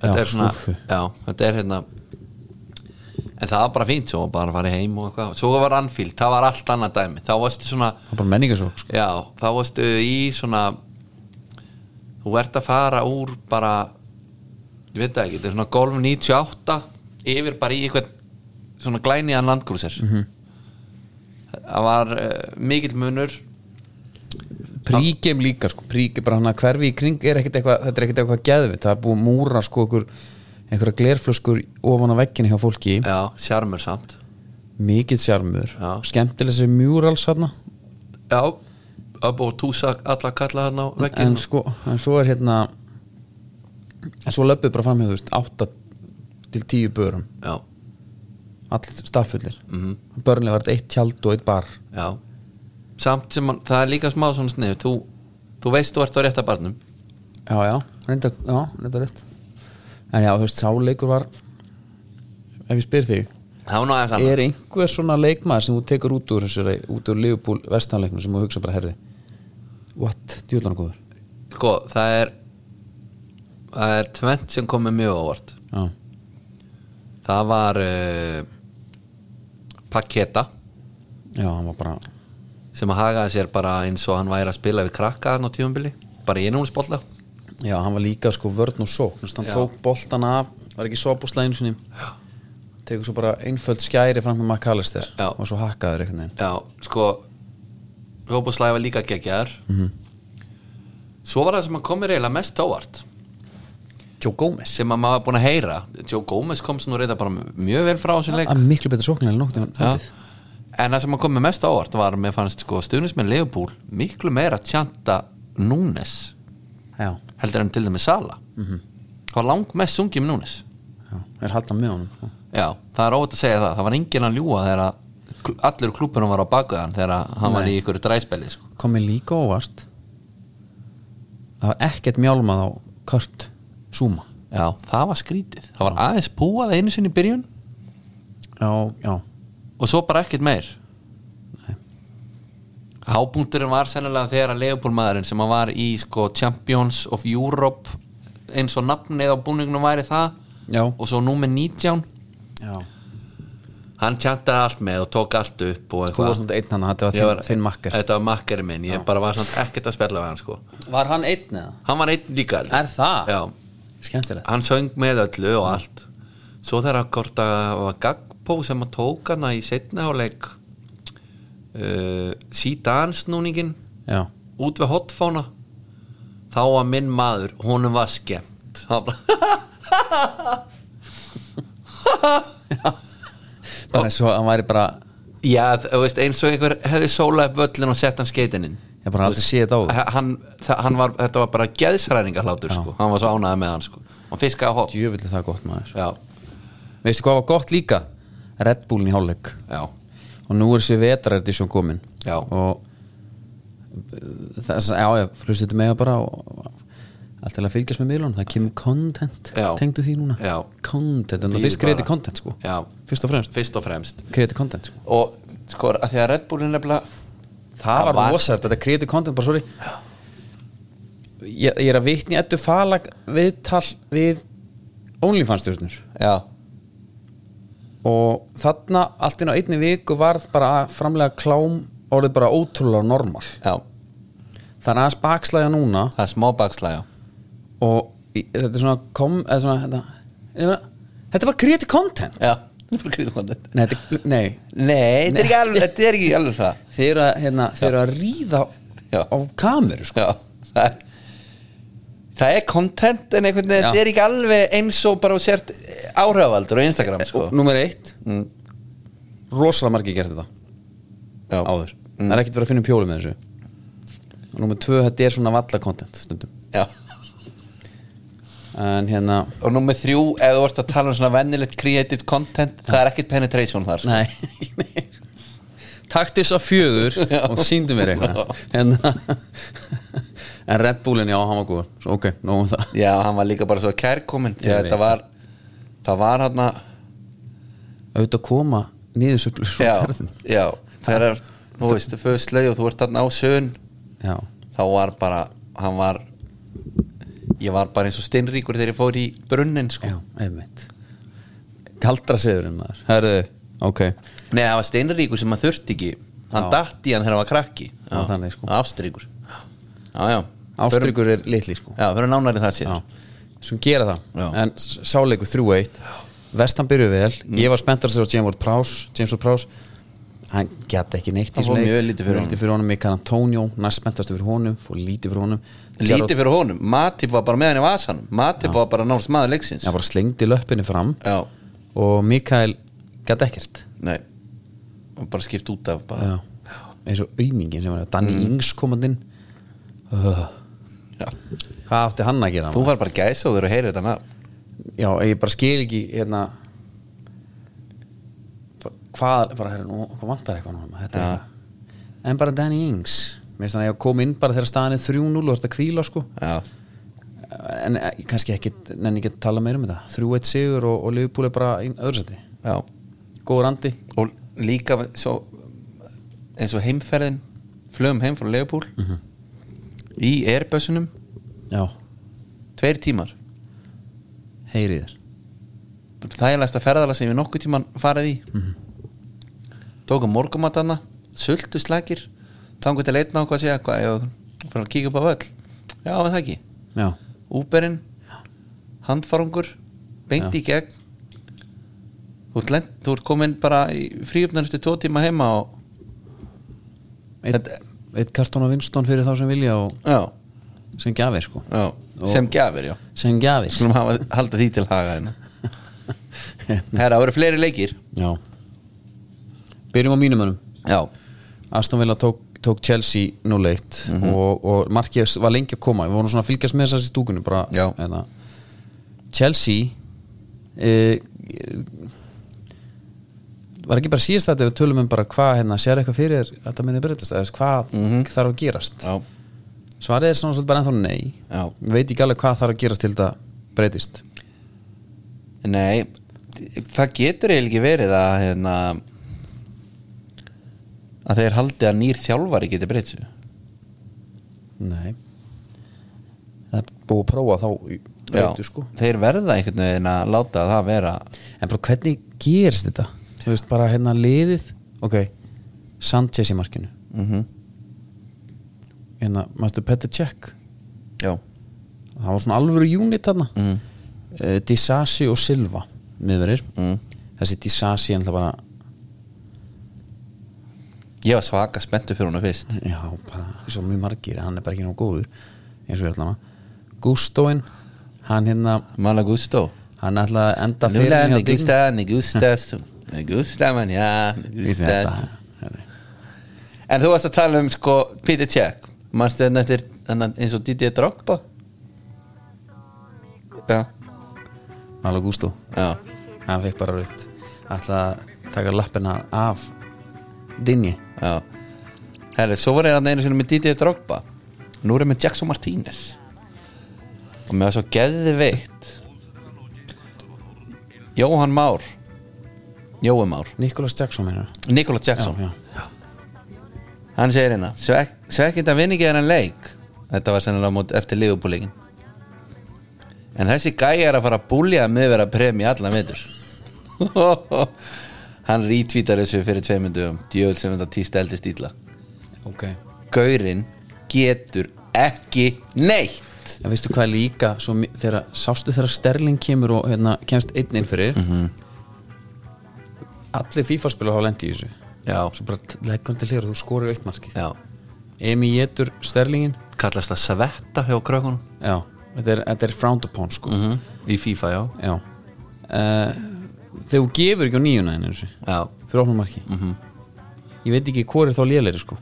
Speaker 2: Þetta
Speaker 1: Já,
Speaker 2: er svona
Speaker 1: skúffu.
Speaker 2: Já, þetta er hérna En það var bara fínt, svo var bara að fara heim og eitthvað Svo var Anfield, það var allt annað dæmi Þá varstu svona,
Speaker 1: það var bara menningasók sko.
Speaker 2: já, þá varstu í svona Þú ert að fara úr bara Ég veit það ekki, þetta er svona golf 98 Yfir bara í eitthvað Svona glæniðan landgrúsir
Speaker 1: Mhm.
Speaker 2: -hmm. Það var uh, mikill munur
Speaker 1: príkjum líka sko, príkjum bara hann að hverfi í kring er ekkit eitthvað, þetta er ekkit eitthvað geðvitt það er búið að múra sko okkur einhverja glerflöskur ofan á vegginu hjá fólki
Speaker 2: Já, sjarmur samt
Speaker 1: mikið sjarmur,
Speaker 2: Já.
Speaker 1: skemmtileg sér murals hérna,
Speaker 2: Já, upp og túsa alla kalla þarna á vegginn
Speaker 1: en sko en svo er hérna en svo löpuð bara fram hjá þú veist 8 til 10 börum,
Speaker 2: Já,
Speaker 1: allir staffullir mm -hmm. börnlega var þetta eitt tjald og eitt bar
Speaker 2: Mhm. já Samt sem man, það er líka smá svona snið Þú, þú veist þú ert á rétta barnum
Speaker 1: já já, reynda, já, reynda rétt en já, þú veist, sáleikur var ef ég spyr þig
Speaker 2: það var nú aðeins annað
Speaker 1: er einhver svona leikmaður sem þú tekur út úr þessari, út úr Liverpool vestanleiknum sem þú hugsa bara, herði what, djúlan góður
Speaker 2: sko, það er það er tvent sem komið mjög ávart
Speaker 1: já,
Speaker 2: það var uh, Paketa
Speaker 1: já, hann var bara
Speaker 2: sem að hagaði sér bara eins og hann væri að spila við krakka hann á tífumbili, bara í innúlisbolla
Speaker 1: já, hann var líka sko vörn og sók Þú veist, hann
Speaker 2: Já.
Speaker 1: tók boltan af, var ekki sopúslegin sinni tekur svo bara einföld skæri fram með McAllister
Speaker 2: Já.
Speaker 1: og svo hakkaður einhvern veginn
Speaker 2: já, sko Róboslæði var líka geggjar -hmm. svo var það sem að komið reyla mest ávart
Speaker 1: Joe Gomez
Speaker 2: sem að maður var búin að heyra Joe Gomez kom sem nú reyta bara mjög vel frá þessum leik
Speaker 1: að miklu betur sóknir en nóttum
Speaker 2: Já. En það sem að kom með mest á óvart var að mér fannst sko stuðnismenn Leopold miklu meira að tjanta Núnes
Speaker 1: já,
Speaker 2: heldur en til dæmis Sala Það var langmest sungið um Núnes
Speaker 1: já, er haldan með honum sko.
Speaker 2: Já, það er óvægt að segja það, það var enginn að ljúga þegar að kl- allur klúbunum var á baku hann þegar að hann var í ykkur dræspeli sko.
Speaker 1: kom mér líka óvart það var ekkert mjálmað á Kurt Zuma
Speaker 2: Já, það var skrítið, það var aðeins púað einu sinni í byrjun
Speaker 1: já, já,
Speaker 2: og svo bara ekkert meir Hápunkturinn var sennilega þegar að Leopold maðurinn sem að var í sko Champions of Europe eins og nafnið á búningnum væri það
Speaker 1: já,
Speaker 2: og svo númer 19
Speaker 1: já.
Speaker 2: hann tjantaði allt með og tók allt upp og
Speaker 1: þú
Speaker 2: eitthvað
Speaker 1: varst náttúrulega einn hann þetta var
Speaker 2: Ég
Speaker 1: þinn,
Speaker 2: var-
Speaker 1: þinn makkar
Speaker 2: þetta var makkari minn, ég bara var svona ekkert að spjalla við hann sko
Speaker 1: var hann einn eða?
Speaker 2: hann var einn líka held ég.
Speaker 1: er það?
Speaker 2: Já,
Speaker 1: skemmtilegt
Speaker 2: hann söng með öllu og allt svo þegar að korta var Gagpo sem að tók hana í setna áleik uh, síðan snúningin
Speaker 1: já,
Speaker 2: út við hotfána þá var minn maður, honum var skemmt það var bara
Speaker 1: bara eins og hann væri bara
Speaker 2: Já, þú veist, eins og einhver hefði sólað upp völlin og sett hann skeitinin
Speaker 1: ég bara aldrei sé þetta á það
Speaker 2: hann, þa- hann var, þetta var bara geðsræðingahlátur sko. hann var svo ánæði með hann sko. hann fiskaði hot
Speaker 1: djöfulli það er gott maður
Speaker 2: já,
Speaker 1: veistu hvað var gott líka? Red Bullin í hálfleik
Speaker 2: já,
Speaker 1: og nú er þessi vetrardísjón komin
Speaker 2: Já.
Speaker 1: og uh, þess að, já, já, hlustu þetta með bara og allt til að fylgjast með miðlunum það kemur content,
Speaker 2: Já.
Speaker 1: tengdu því núna
Speaker 2: Já.
Speaker 1: content, en
Speaker 2: Bíður
Speaker 1: það fyrst
Speaker 2: bara.
Speaker 1: kreiti content sko
Speaker 2: já,
Speaker 1: fyrst og fremst,
Speaker 2: fyrst og fremst
Speaker 1: kreiti content sko
Speaker 2: og sko, að því að Red Bullin nefnilega
Speaker 1: það var rosalegt, þetta kreiti content, bara sorry ég, ég er að vitni ettu falag viðtal við OnlyFans-stjórnur
Speaker 2: já,
Speaker 1: og þarna allt inn á einni viku varð bara að framlega klám orðið bara ótrúlega normal
Speaker 2: já,
Speaker 1: það er aðeins bakslæja núna
Speaker 2: það er smá bakslæg
Speaker 1: og í- þetta er svona kom, eða svona þetta, ég meina, þetta er bara creative content
Speaker 2: já, það er bara gríðkondent
Speaker 1: nei, um þetta, er- nei
Speaker 2: nei, þetta er ekki alveg, þetta er ekki alveg það
Speaker 1: þeir eru að, hérna, þeir eru að ríða
Speaker 2: Já.
Speaker 1: á kameru sko.
Speaker 2: já, það er það er content en einhvern veginn
Speaker 1: Já.
Speaker 2: þetta er ekki alveg eins og bara þú sért áhrifavaldur á Instagram sko.
Speaker 1: og nummer eitt
Speaker 2: Mm.
Speaker 1: rosalega margir gert þetta
Speaker 2: já,
Speaker 1: áður það er ekkert verið að finna um pjóli með þessu og nummer tvö, þetta er svona valla content stundum
Speaker 2: já
Speaker 1: en hérna,
Speaker 2: og nummið þrjú, ef þú vart að tala um svona vennilegt created content, það er ekkert penetration þar sko.
Speaker 1: nei nei. taktu þess að fjögur og síndu mér eitthvað hérna. en Red Bullin, já, hann var góð Svo, ok, nóg um það
Speaker 2: já, hann var líka bara svo kærkominn því
Speaker 1: Ég
Speaker 2: að
Speaker 1: veit
Speaker 2: þetta var það var hann að
Speaker 1: auðvitað koma niðursöflur frá
Speaker 2: já,
Speaker 1: ferðum
Speaker 2: já, þegar þú veist, föðslög og þú ert hann á sögun
Speaker 1: já,
Speaker 2: þá var bara, hann var ég var bara eins og steinríkur þegar ég fór í brunnin sko.
Speaker 1: já, einmitt kaldra siðurinn maður herðu, ok
Speaker 2: nei, það var steinríkur sem maður þurfti ekki hann
Speaker 1: Já.
Speaker 2: datt í hann þegar hann var krakki
Speaker 1: Já, þannig, sko.
Speaker 2: ástríkur já, já,
Speaker 1: ástryggur er litli sko
Speaker 2: já, fyrir nánari það sér
Speaker 1: já, sem gera það
Speaker 2: Já.
Speaker 1: en s- sáleikur 3-1 vestan byrjuð vel,
Speaker 2: Mm.
Speaker 1: ég var spenntar sér á James Ward Prowse James Ward Prowse hann gæti ekki neitt í
Speaker 2: Hann fór
Speaker 1: þessum leik.
Speaker 2: mjög lítið fyrir honum.
Speaker 1: lítið fyrir honum Mikael Antonio, næst spenntastu fyrir honum fór lítið fyrir honum
Speaker 2: lítið fyrir honum, Matip var bara með hann í vasan Matip var bara nánast maður leiksins
Speaker 1: já, bara slengdi löppinni fram
Speaker 2: já,
Speaker 1: og Mikael gæti ekkert
Speaker 2: nei og bara skipt út af bara
Speaker 1: já. eins og auðmingin sem var Danny
Speaker 2: Mm.
Speaker 1: Ings komandinn uh,
Speaker 2: Já.
Speaker 1: hvað átti hann að gera
Speaker 2: þú var bara gæsa og þú eru að heyra þetta nafn
Speaker 1: já, ég bara skil ekki hérna bara- hvað, bara hérna, nú, hvað vantar eitthvað núna þetta er
Speaker 2: Já.
Speaker 1: eitthvað, en bara Danny Ings mér finnst hann að ég kom inn bara þegar staðan er 3-0 og þetta kvíla sko
Speaker 2: já,
Speaker 1: en eh, kannski ekki, nenni ekki að tala meira um þetta 3-1 sigur og, og Liverpool er bara í öðru seti
Speaker 2: já
Speaker 1: góður andi
Speaker 2: og líka svo, eins og heimferðin flögum heim frá Leopold í Airbussunum
Speaker 1: já,
Speaker 2: tveir tímar
Speaker 1: heyrið þér
Speaker 2: þægilegsta ferðala sem við nokkuð tíman farið í tókum morgumatana sultu slækir þangur til leitna á hvað segja hvað, ég fyrir að kíka upp á völl já, en það ekki
Speaker 1: já,
Speaker 2: Úberinn handfarungur, beint í gegn þú ert, lent, þú ert komin bara í fríöfnarustu tvo tíma heima og
Speaker 1: eitt,
Speaker 2: Þetta-
Speaker 1: eitt kartón á vinstón fyrir þá sem vilja og
Speaker 2: já,
Speaker 1: sem gjafir sko
Speaker 2: já, sem gjafir, já
Speaker 1: sem gjafir
Speaker 2: skulum hafa, halda því til haga hérna herra, það voru fleiri leikir
Speaker 1: já byrjum á mínum önum
Speaker 2: já,
Speaker 1: Aston Villa tók, tók Chelsea 0-1 og, og markið var lengi að koma við vorum svona að fylgjast með þess í stúkunni bara,
Speaker 2: Já.
Speaker 1: hérna. Chelsea e, var ekki bara síðast þetta ef við tölum um bara hvað hérna, sér eitthvað fyrir þér að þetta minni breytast eða þú veist, hvað þarf að gerast
Speaker 2: já,
Speaker 1: svarið er svona svolítið bara ennþá nei
Speaker 2: já
Speaker 1: Ég veit ekki alveg hvað þarf að gerast til þetta breytist
Speaker 2: Nei, það getur eiginlega ekki verið að hérna, að þeir haldi að nýr þjálfari geti breytt sig
Speaker 1: nei það er búið að prófa þá í- breytu sko
Speaker 2: þeir verða einhvern veginn að láta það vera
Speaker 1: En bara hvernig gerist þetta? Þú veist bara hérna liðið Ok, Sanchez í markinu
Speaker 2: mm
Speaker 1: Hérna, maður Petr Cech
Speaker 2: Já,
Speaker 1: Það var svona alvöru unit þarna mm.
Speaker 2: mm.
Speaker 1: Disasi og Silva miðverir
Speaker 2: Mm.
Speaker 1: Þessi Disasi ennlega bara
Speaker 2: ég var svaka spenntu fyrir húnu fyrst
Speaker 1: Já, bara svo mjög margir Hann er bara ekki nóg góður eins og ég ætla hana Gustóin, hann hérna
Speaker 2: Malagusto
Speaker 1: Hann ætlaði að enda fyrir
Speaker 2: Núna, Negusta, Negustas Negusta, mann, já, Negustas En þú varst að tala um sko Peter Check Manstu þetta eftir þennan eins og Didi Drogba Já,
Speaker 1: Mála Gustó
Speaker 2: já
Speaker 1: Hann fekk bara rutt Ætlaði að taka lappina af Dinji
Speaker 2: Já Herri, svo var ég að einu sinni með Didier Drogba Nú er ég með Jackson Martínez Og mér var svo geðveitt Jóhann Már Jói Már
Speaker 1: Nikolas Jackson meina
Speaker 2: Nikola Jackson
Speaker 1: já.
Speaker 2: Hann segir hérna Svek, Svekkinda vinningi er hann leik Þetta var sennilega mót eftir liðubúleikin En þessi gæi er að fara að búlja miðverða premi allan veitur Hann rítvítar þessu fyrir tveimundum Djöðl sem þetta tísta eldist ítla
Speaker 1: Ok
Speaker 2: Gaurinn getur ekki neitt
Speaker 1: En veistu hvað er líka svo, mi- þegar, Sástu þegar Sterling kemur og hérna, kemst einn inn fyrir
Speaker 2: Mhm.
Speaker 1: Allir FIFA-spilar hafa lendi í þessu
Speaker 2: Já,
Speaker 1: Svo bara t- leggur hann til hér og þú skorir eitt markið
Speaker 2: já
Speaker 1: Emi getur Sterlingin
Speaker 2: Kallast það svetta hjá krökkunum
Speaker 1: Já, þetta er, þetta er frowned upon sko
Speaker 2: -hmm. Í FIFA, já
Speaker 1: Já uh, Þegar þú gefur ekki á nýjuna einu þessu
Speaker 2: Já, Mhm.
Speaker 1: Fyrir ofnum marki -hmm. Ég veit ekki hvor er þá léleiri sko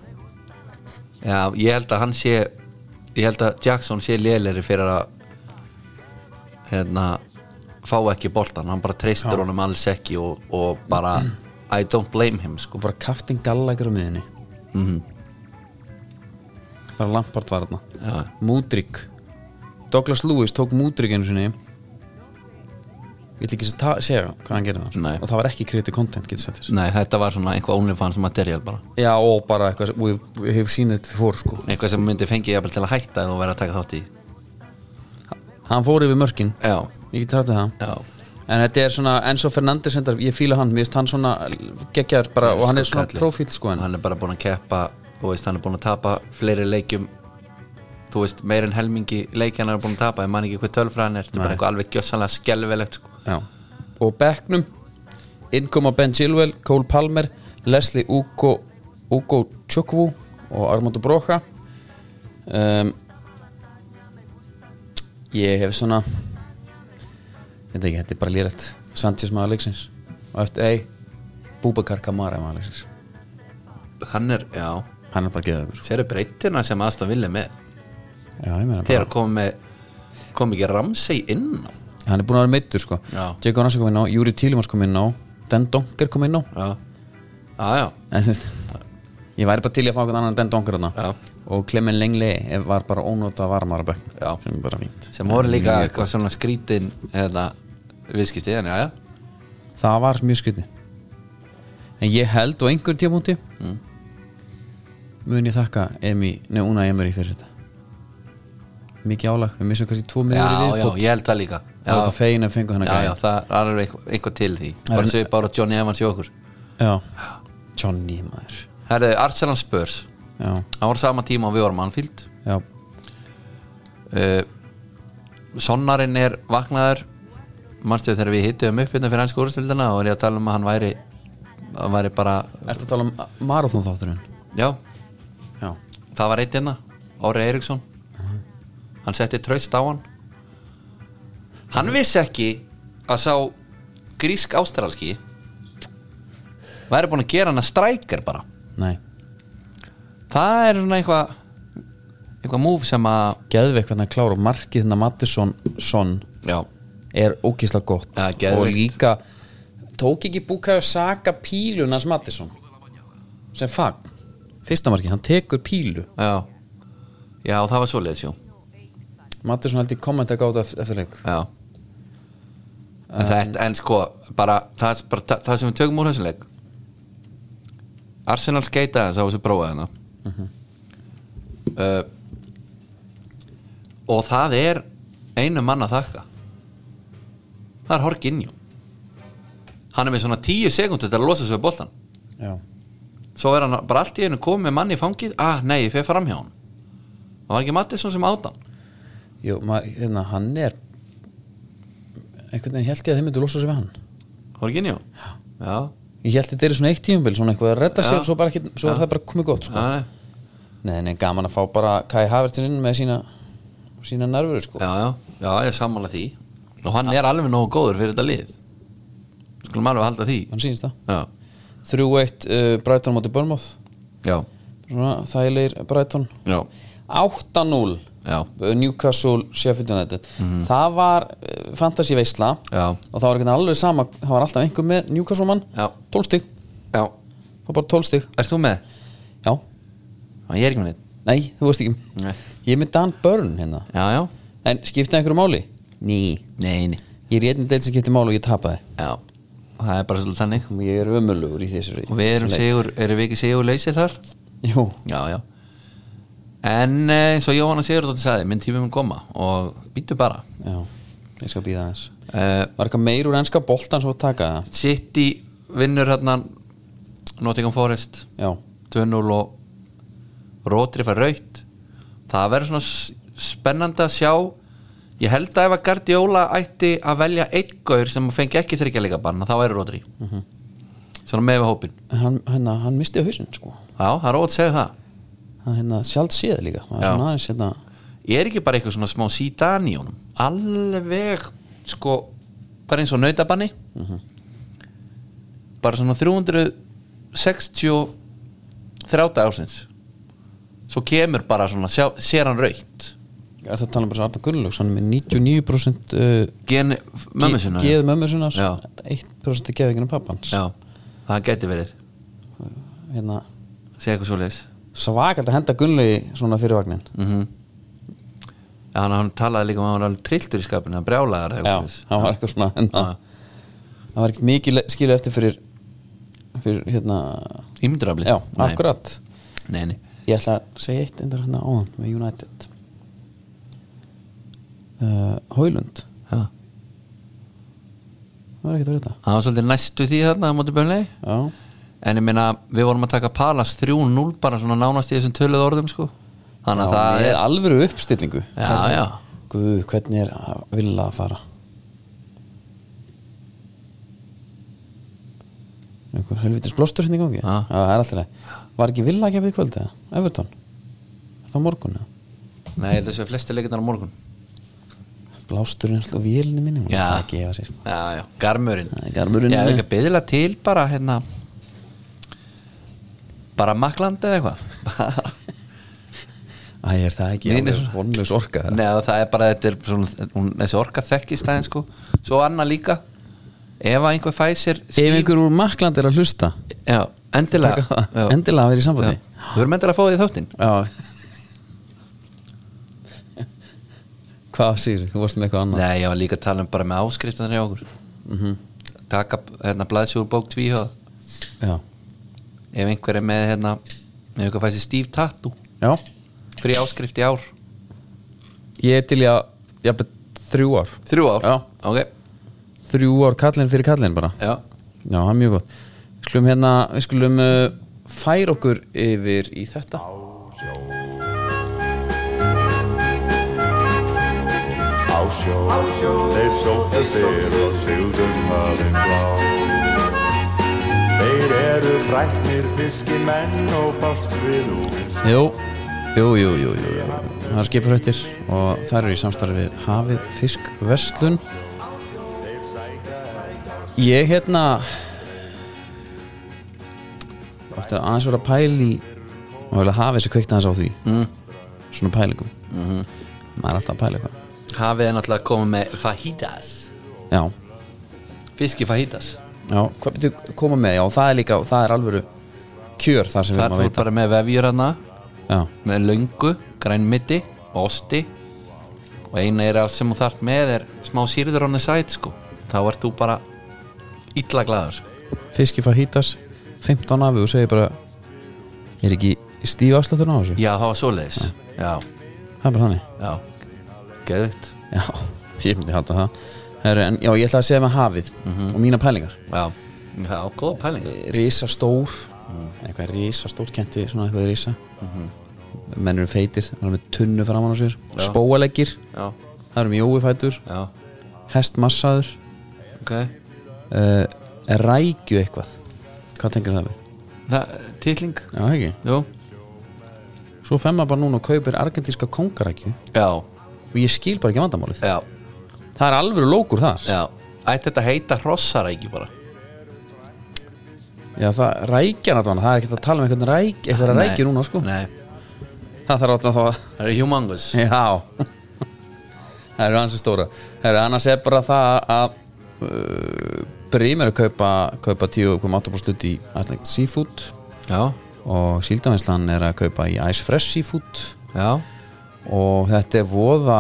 Speaker 2: Já, ég held að hann sé ég held að Jackson sé léleri fyrir að hérna fá ekki boltan, hann bara treystur honum alls ekki og, og bara I don't blame him sko
Speaker 1: Og bara kaftin galla ykkur á miðinni
Speaker 2: mm
Speaker 1: Bara lampart var þarna
Speaker 2: já,
Speaker 1: Múdrygg Douglas Lewis tók Múdrygg einu sinni ég vil ekki ta- segja hvað hann gerir
Speaker 2: Nei.
Speaker 1: það og það var ekki creative content getur sagt þér
Speaker 2: Nei, þetta var svona einhvað OnlyFans material bara
Speaker 1: já og bara eitthvað sem- we, we have seen it before sko
Speaker 2: eitthvað sem myndi fengið jafnvel til að hætta og vera að taka þátt í
Speaker 1: hann fór yfir mörkin
Speaker 2: Já,
Speaker 1: ég get rættið það
Speaker 2: já,
Speaker 1: en þetta er svona Enzo Fernandes endar, ég fíla hann mér finnst hann svona geggjar bara og hann er svona
Speaker 2: kallinn.
Speaker 1: profíl sko en
Speaker 2: hann er bara búin að keppa þú veist, hann er búin að tapa fleiri leikjum þú veist, meir en helmingi leikjan hann er búin að tapa, ég man ekki hvað tölfræðan er þetta er bara eitthvað alveg gjössanlega skelvelegt sko.
Speaker 1: já og bekknum innkoma Ben Chilwell Cole Palmer Leslie Ugo Ugo Chukwu og Armando Broca um, ég hef svona þetta ekki, þetta er bara lýrætt Sanchez maður leiksins og eftir ei Búbakar Kamara maður leiksins
Speaker 2: hann er, já,
Speaker 1: hann er bara sko. geðað ykkur
Speaker 2: Sérðu breytina sem aðstofn vilja með
Speaker 1: já, ég meina bara
Speaker 2: Þegar kom með kom ekki Ramsey inn á
Speaker 1: hann er búin að vera meittur sko
Speaker 2: Já.
Speaker 1: Jacob Nassi kom inn á Júri Tílimans kom inn á Den Donker kom inn á
Speaker 2: Ah, Já, já, já,
Speaker 1: en þú veist ég væri bara til í að fá einhvern annan en Den Donker þarna
Speaker 2: já.
Speaker 1: og Clement Lengli var bara ónóta varmar að
Speaker 2: Já.
Speaker 1: bökk sem er bara fínt
Speaker 2: sem voru líka eitthvað svona skrítin eða viðskipti en já, já,
Speaker 1: það var mjög skriti en ég held á einhver tímúti
Speaker 2: Mm.
Speaker 1: mun ég þakka Emi, neuna Emery fyrir þetta mikið álag, við missum kannski tvo miður
Speaker 2: já, já, ég held það líka
Speaker 1: það var
Speaker 2: já,
Speaker 1: eitthvað fegin að fengu hann
Speaker 2: já, já, það er alveg eitthvað, eitthvað til því bara
Speaker 1: en-
Speaker 2: svo bara Johnny Evans hjá okkur
Speaker 1: já. Johnny maður
Speaker 2: Herðu, Arsenal Spurs
Speaker 1: já,
Speaker 2: það var sama tíma og við vorum Anfield
Speaker 1: já,
Speaker 2: uh, Sonnarinn er vaknaður mannstu þegar við hittum upp hérna fyrir hans skóristildina og er ég að tala um að hann væri hann væri bara,
Speaker 1: ertu að tala um marathon þátturinn
Speaker 2: já,
Speaker 1: já,
Speaker 2: það var eitt hérna Óri Eriksson hann setti traust á hann hann vissi ekki að sá grísk ástralski væri búin að gera hann að strækir bara
Speaker 1: nei,
Speaker 2: það er svona eitthvað eitthvað múf sem að
Speaker 1: geðveik hvernig að klára og markið þarna Mattisson son
Speaker 2: já,
Speaker 1: er ókísla gott
Speaker 2: Ja, geðveikt.
Speaker 1: og líka tók ekki búkaðu saka pílunars Mattisson sem fag fyrsta marki, hann tekur pílu
Speaker 2: já já, það var svoleiðis, jú
Speaker 1: Mattisson held ég kommenta gáta eftir leik
Speaker 2: Já En, það, en sko, bara það, bara það- það sem við tökum úr þessum leik Arsenal skeita þess á þessu prófa hérna uh, Og það er einu mann að þakka Það er Horkinjó Hann er með svona 10 sekundur til að losa sig við boltan
Speaker 1: já,
Speaker 2: Svo er hann bara allt í einu komið með manni í fangið Ah, nei, ég fer fram hjá hann Það var ekki Mattisson sem átt hann
Speaker 1: Jú, maður, hérna, hann er einhvern veginn held ég að þeim myndu losa sig við hann
Speaker 2: Horkinjó Já,
Speaker 1: ég held þetta er svona eitt tímabil, svona eitthvað að redda
Speaker 2: Já.
Speaker 1: sér svo, bara ekki, svo er það bara komið gott
Speaker 2: já,
Speaker 1: sko.
Speaker 2: já.
Speaker 1: nei, nei, gaman að fá bara Kai Havertz inn með sína sína nervuru sko.
Speaker 2: já, já, já, ég sammála því og hann er alveg nógu góður fyrir þetta lið skulum alveg halda því
Speaker 1: hann sýnist það
Speaker 2: já,
Speaker 1: 3-1 uh, Brighton á móti Börnmóð
Speaker 2: já,
Speaker 1: svona þægilegir Brighton
Speaker 2: já,
Speaker 1: 8-0
Speaker 2: já,
Speaker 1: uh, Newcastle Sheffield United
Speaker 2: Mhm.
Speaker 1: það var uh, fantasy veisla
Speaker 2: já,
Speaker 1: og það var ekki alveg sama það var alltaf einhver með Newcastle mann
Speaker 2: Já.
Speaker 1: 12 stig,
Speaker 2: já.
Speaker 1: það var bara 12 stig
Speaker 2: er þú með?
Speaker 1: já,
Speaker 2: Já, ég er ekki með neitt
Speaker 1: nei, þú veist ekki
Speaker 2: Nei.
Speaker 1: ég er með Dan Byrne hérna
Speaker 2: já, já,
Speaker 1: en skipti einhverju máli? Ný
Speaker 2: nei, nei
Speaker 1: ég er í einnig deil sem skipti máli og ég tapaði
Speaker 2: já, það er bara svolítið þannig
Speaker 1: ég er ömulugur í þessu
Speaker 2: og við erum sigur, erum við ekki sigur leysið þar?
Speaker 1: jú,
Speaker 2: já, já en eh, eins og Jóhanna Sigurðardóttir sagði minn tími mun koma og býtu bara
Speaker 1: já, ég skal býða aðeins
Speaker 2: uh,
Speaker 1: var eitthvað meir úr ennska boltan svo að taka það
Speaker 2: City vinnur hérna Nottingham Forest
Speaker 1: já,
Speaker 2: 2-0 og Rodri fær raukt það verður svona s- spennandi að sjá ég held að ef að Guardiola ætti að velja einn gaur sem fengi ekki þryggjarleika banna þá er Rodri svona með við hópin
Speaker 1: En hann, hérna, hann misti hausinn sko
Speaker 2: já, það er ótt að segja það
Speaker 1: hann hérna sjálf séð líka maður
Speaker 2: Já.
Speaker 1: svona aðeins hérna
Speaker 2: ég er ekki bara eitthvað svona smá sítan í honum alveg sko bara eins og nautabanni
Speaker 1: Mhm.
Speaker 2: bara svona 363 þrjáta ársins svo kemur bara svona sjá, sér hann raukt
Speaker 1: er það að tala um bara svo Arna Gunnlaugs hann er með 99% uh,
Speaker 2: gen mömmu sinna
Speaker 1: geð mömmu sinnar
Speaker 2: Já.
Speaker 1: 1% er geðvinginu pappans
Speaker 2: já, það geti verið
Speaker 1: hérna
Speaker 2: segja eitthvað svoleiðis
Speaker 1: svakalt að henda Gunnlaugi svona fyrir vagnin
Speaker 2: mm já, hann, hann talaði líka um að hann var alveg trilltur í skapinu hann brjálaðar
Speaker 1: já, hann var eitthvað svona hérna, hann var ekkert mikið le- skilið eftir fyrir fyrir hérna
Speaker 2: ímyndrafli
Speaker 1: já, akkurat
Speaker 2: nei, nei.
Speaker 1: ég ætla að segja eitt endar hérna áðan með United uh, Hólund
Speaker 2: Já.
Speaker 1: það var ekkert að vera
Speaker 2: hann var svolítið næstu því þarna á móti bönlegi
Speaker 1: þetta já
Speaker 2: en ég meina við vorum að taka Palas 3-0 bara svona nánast í þessum töluð orðum sko þannig að það
Speaker 1: já,
Speaker 2: er
Speaker 1: er alvöru uppstillingu
Speaker 2: já, já,
Speaker 1: Guð, hvernig er að vilja að fara einhver helvitis blóstur hérna í gangi
Speaker 2: Já.
Speaker 1: já, það er alltaf leið var ekki vilja að gefa því kvöld eða? Everton er það á morgun eða?
Speaker 2: nei, ég held að þessu flesti leikindar á morgun
Speaker 1: blásturinn sló vélni minni hún
Speaker 2: Já.
Speaker 1: er það að gefa sér sko.
Speaker 2: já, já, garmurinn
Speaker 1: Það er garmurinn.
Speaker 2: ég hef ekki að byðla til bara hérna bara maklandi eða eitthvað Bara-
Speaker 1: Æ, er það ekki
Speaker 2: Nei, nei.
Speaker 1: alveg vonlaus orka það?
Speaker 2: Nei, og það er bara þetta er svona, hún, þessi orka þekkist aðeins sko svo annað líka ef að einhver fæ sér
Speaker 1: ef einhver úr Makland er að hlusta
Speaker 2: já, endilega
Speaker 1: taka það.
Speaker 2: já,
Speaker 1: endilega að vera í
Speaker 2: já.
Speaker 1: sambandi
Speaker 2: þú erum endilega að fá því þáttinn
Speaker 1: já, Hvað sýr, þú varst með eitthvað annað Mhm.
Speaker 2: Nei, ég var líka að tala um bara með áskriftanir hjá okkur Taka hérna blaðsjóður bók tvíhjóða
Speaker 1: Já,
Speaker 2: Ef einhver er með hérna Ef einhver fæst í stíf tattu
Speaker 1: já
Speaker 2: Frí áskrift í ár
Speaker 1: Ég er til í að, jafnveg, þrjú ár
Speaker 2: Þrjú ár?
Speaker 1: Já.
Speaker 2: Ok,
Speaker 1: Þrjú ár kallinn fyrir kallinn bara
Speaker 2: já
Speaker 1: Já, það er mjög gott Við skulum hérna, við skulum uh, færa okkur yfir í þetta
Speaker 3: Á sjó, þeir sóttu fyrr og sigðum hafinn blá. Þeir eru fræknir fiskimenn og fást við úr.
Speaker 1: Jú, jú, jú, jú, jú, jú. Það er skipurhættir og það eru í samstarfi við Hafið Fisk Vestlun Ég hérna Þetta er aðeins vera að pæla í og vel að hafa þessi kveikta aðeins á því mm. svona pælingum mm maður er alltaf að pæla eitthvað
Speaker 2: Hafið er náttúrulega komið með fajitas
Speaker 1: já,
Speaker 2: Fiski fajitas
Speaker 1: já, hvað byrju koma með já, það er líka, það er alvöru kjör þar sem við
Speaker 2: Þar
Speaker 1: erum að
Speaker 2: fór
Speaker 1: veita
Speaker 2: bara með vefjurana
Speaker 1: já,
Speaker 2: Með löngu, grænmiti, osti Og eina er allt sem þú þarft með er Smá sýrður onni sæt sko Þá ert þú bara illa glaður sko
Speaker 1: fiski fajitas 15 afi og segir bara er ekki stíf afslutur á þessu
Speaker 2: Já, það var svoleiðis Já,
Speaker 1: það er bara þannig
Speaker 2: já Geðvitt
Speaker 1: Já, ég myndi halda það Heru, en, Já, ég ætla að segja með hafið
Speaker 2: Mhm.
Speaker 1: og mína pælingar
Speaker 2: Já, já, góða pæling
Speaker 1: Rísa stór
Speaker 2: Mhm.
Speaker 1: eitthvað rísa stór, kenti svona eitthvað rísa menn eru feitir, það eru með tunnu framan á sér
Speaker 2: Já.
Speaker 1: spóaleggir,
Speaker 2: Já,
Speaker 1: það eru mjói fætur
Speaker 2: já,
Speaker 1: hestmassaður
Speaker 2: ok
Speaker 1: uh, rækju eitthvað hvað tengur það við?
Speaker 2: Það, titling
Speaker 1: Já, ekki
Speaker 2: Jú,
Speaker 1: Svo fer maður bara núna og kaupir argentíska kongarækju
Speaker 2: já,
Speaker 1: og ég skil bara ekki vandamálið
Speaker 2: já
Speaker 1: Það er alveg lókur þar
Speaker 2: Já, ætti þetta að heita hrossaræki bara
Speaker 1: Já, það rækja náttúrulega, það er ekki að tala um eitthvað ræk, eitthvað
Speaker 2: Nei.
Speaker 1: rækju núna, sko
Speaker 2: Nei,
Speaker 1: Það þarf alltaf þá að
Speaker 2: það er humongous
Speaker 1: Já Það eru hansi stóra Það eru annars er bara það að uh, Brím er að kaupa, kaupa 10,8% hlut í ætlægt seafood
Speaker 2: Já,
Speaker 1: og síldavinslan er að kaupa í Ice Fresh seafood
Speaker 2: já
Speaker 1: og þetta er voða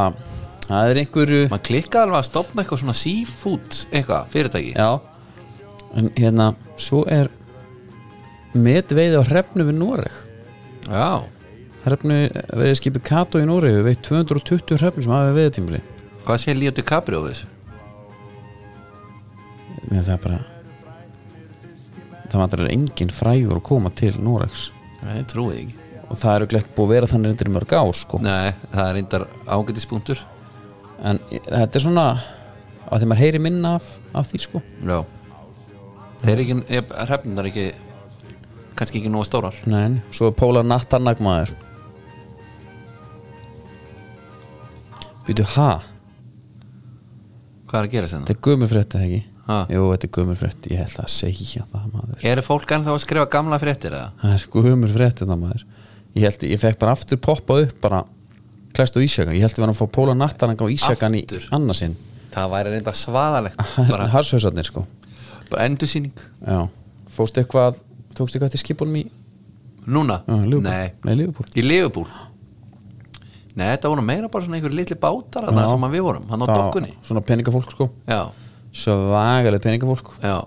Speaker 1: það er einhverju
Speaker 2: Maður klikkaði alveg að stopna eitthvað svona seafood eitthvað, fyrirtæki
Speaker 1: já, en hérna svo er metveiði á hrefnu við Noreg
Speaker 2: Já,
Speaker 1: hrefnu veiði skipi Kato í Noreg við 220 hrefnu sem hafa veiði tímli
Speaker 2: hvað sé Líó DiCaprio við þessu?
Speaker 1: Mér það er bara Það vantar er engin frægur að koma til Norex
Speaker 2: Nei, trúið ekki
Speaker 1: Og það eru glekk búið að vera þannig undir í mörg ár sko.
Speaker 2: Nei, það er reyndar ágætispunktur
Speaker 1: En þetta er svona að þegar maður heyri minna af, af því sko.
Speaker 2: Já Þeir eru ekki, hrefnundar ekki kannski ekki nógu stórar
Speaker 1: Nein, Svo er Póla Nattarnagmaður Býtu ha
Speaker 2: Hvað er að hérna? gera sem
Speaker 1: Þetta er gömurfrétt eða ekki
Speaker 2: Ha?
Speaker 1: Jú, þetta er gömurfrétt, ég held að segja það hérna, maður
Speaker 2: Eru fólk ennþá að skrifa gamla fréttir eða?
Speaker 1: Það er gömurfrétt þetta maður Ég held, ég fekk bara aftur poppað upp bara Klæst á Ísjaka, ég held við varum að fá Póla Nattarnag á Ísjakan í
Speaker 2: Aftur?
Speaker 1: annarsinn
Speaker 2: Það væri reynda svaðalegt bara,
Speaker 1: Harshausarnir sko
Speaker 2: bara endursýning
Speaker 1: Já. Fórstu eitthvað, tókstu eitthvað til skipunum í
Speaker 2: Núna?
Speaker 1: Já, Ah, Liverpool.
Speaker 2: Nei
Speaker 1: Nei, Liverpool
Speaker 2: Í Liverpool Nei, þetta voru meira bara svona einhver litli bátar
Speaker 1: Já.
Speaker 2: þarna sem að við vorum, hann á
Speaker 1: Það-
Speaker 2: dokkunni
Speaker 1: Svona peningafólk sko
Speaker 2: Já,
Speaker 1: Svagaleg peningafólk
Speaker 2: já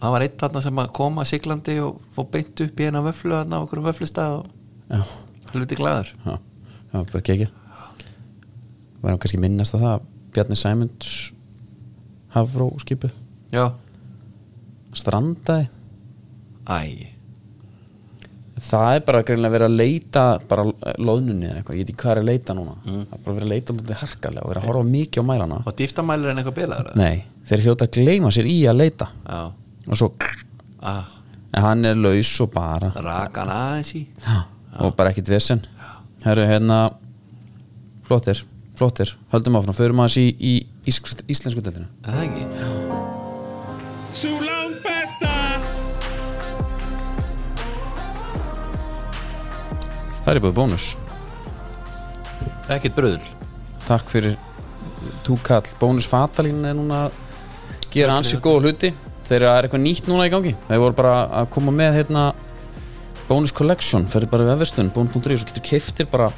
Speaker 2: Það var einn þarna sem að koma siglandi og fór beint upp í eina vöflu þarna á okkur vöflustað og
Speaker 1: Já,
Speaker 2: hluti glæður
Speaker 1: já, já bara kekja Var hann kannski minnast að það Bjarni Sæmunds Hafró skipið
Speaker 2: Já,
Speaker 1: Strandaði
Speaker 2: æ
Speaker 1: Það er bara greinlega verið að leita bara loðnunni eða eitthvað, ég veit ekki hvað er að leita núna Það er bara verið að leita alltaf harkalega og verið að horfa mikið á mælana
Speaker 2: Og dýftamælur en eitthvað bilaður eða?
Speaker 1: Nei, þeir hljóta að gleyma sér í að leita
Speaker 2: Já,
Speaker 1: og svo
Speaker 2: ah,
Speaker 1: En hann er laus og bara
Speaker 2: raka hann aðeins í
Speaker 1: og bara ekkit vesen Herru, hérna flottir, flottir, höldum áfram förum aðeins í, í, í íslensku deltinu
Speaker 2: Er Það ekki
Speaker 4: Sú langt besta
Speaker 1: Það er búið bónus
Speaker 2: Ekkert bröðl
Speaker 1: Takk fyrir túkall Bónus fatalín er núna að gera ansi góða hluti þegar það er eitthvað nýtt núna í gangi þeir voru bara að koma með hérna Bónus Collection, ferði bara við efverslun bónus.ri og svo getur keftir bara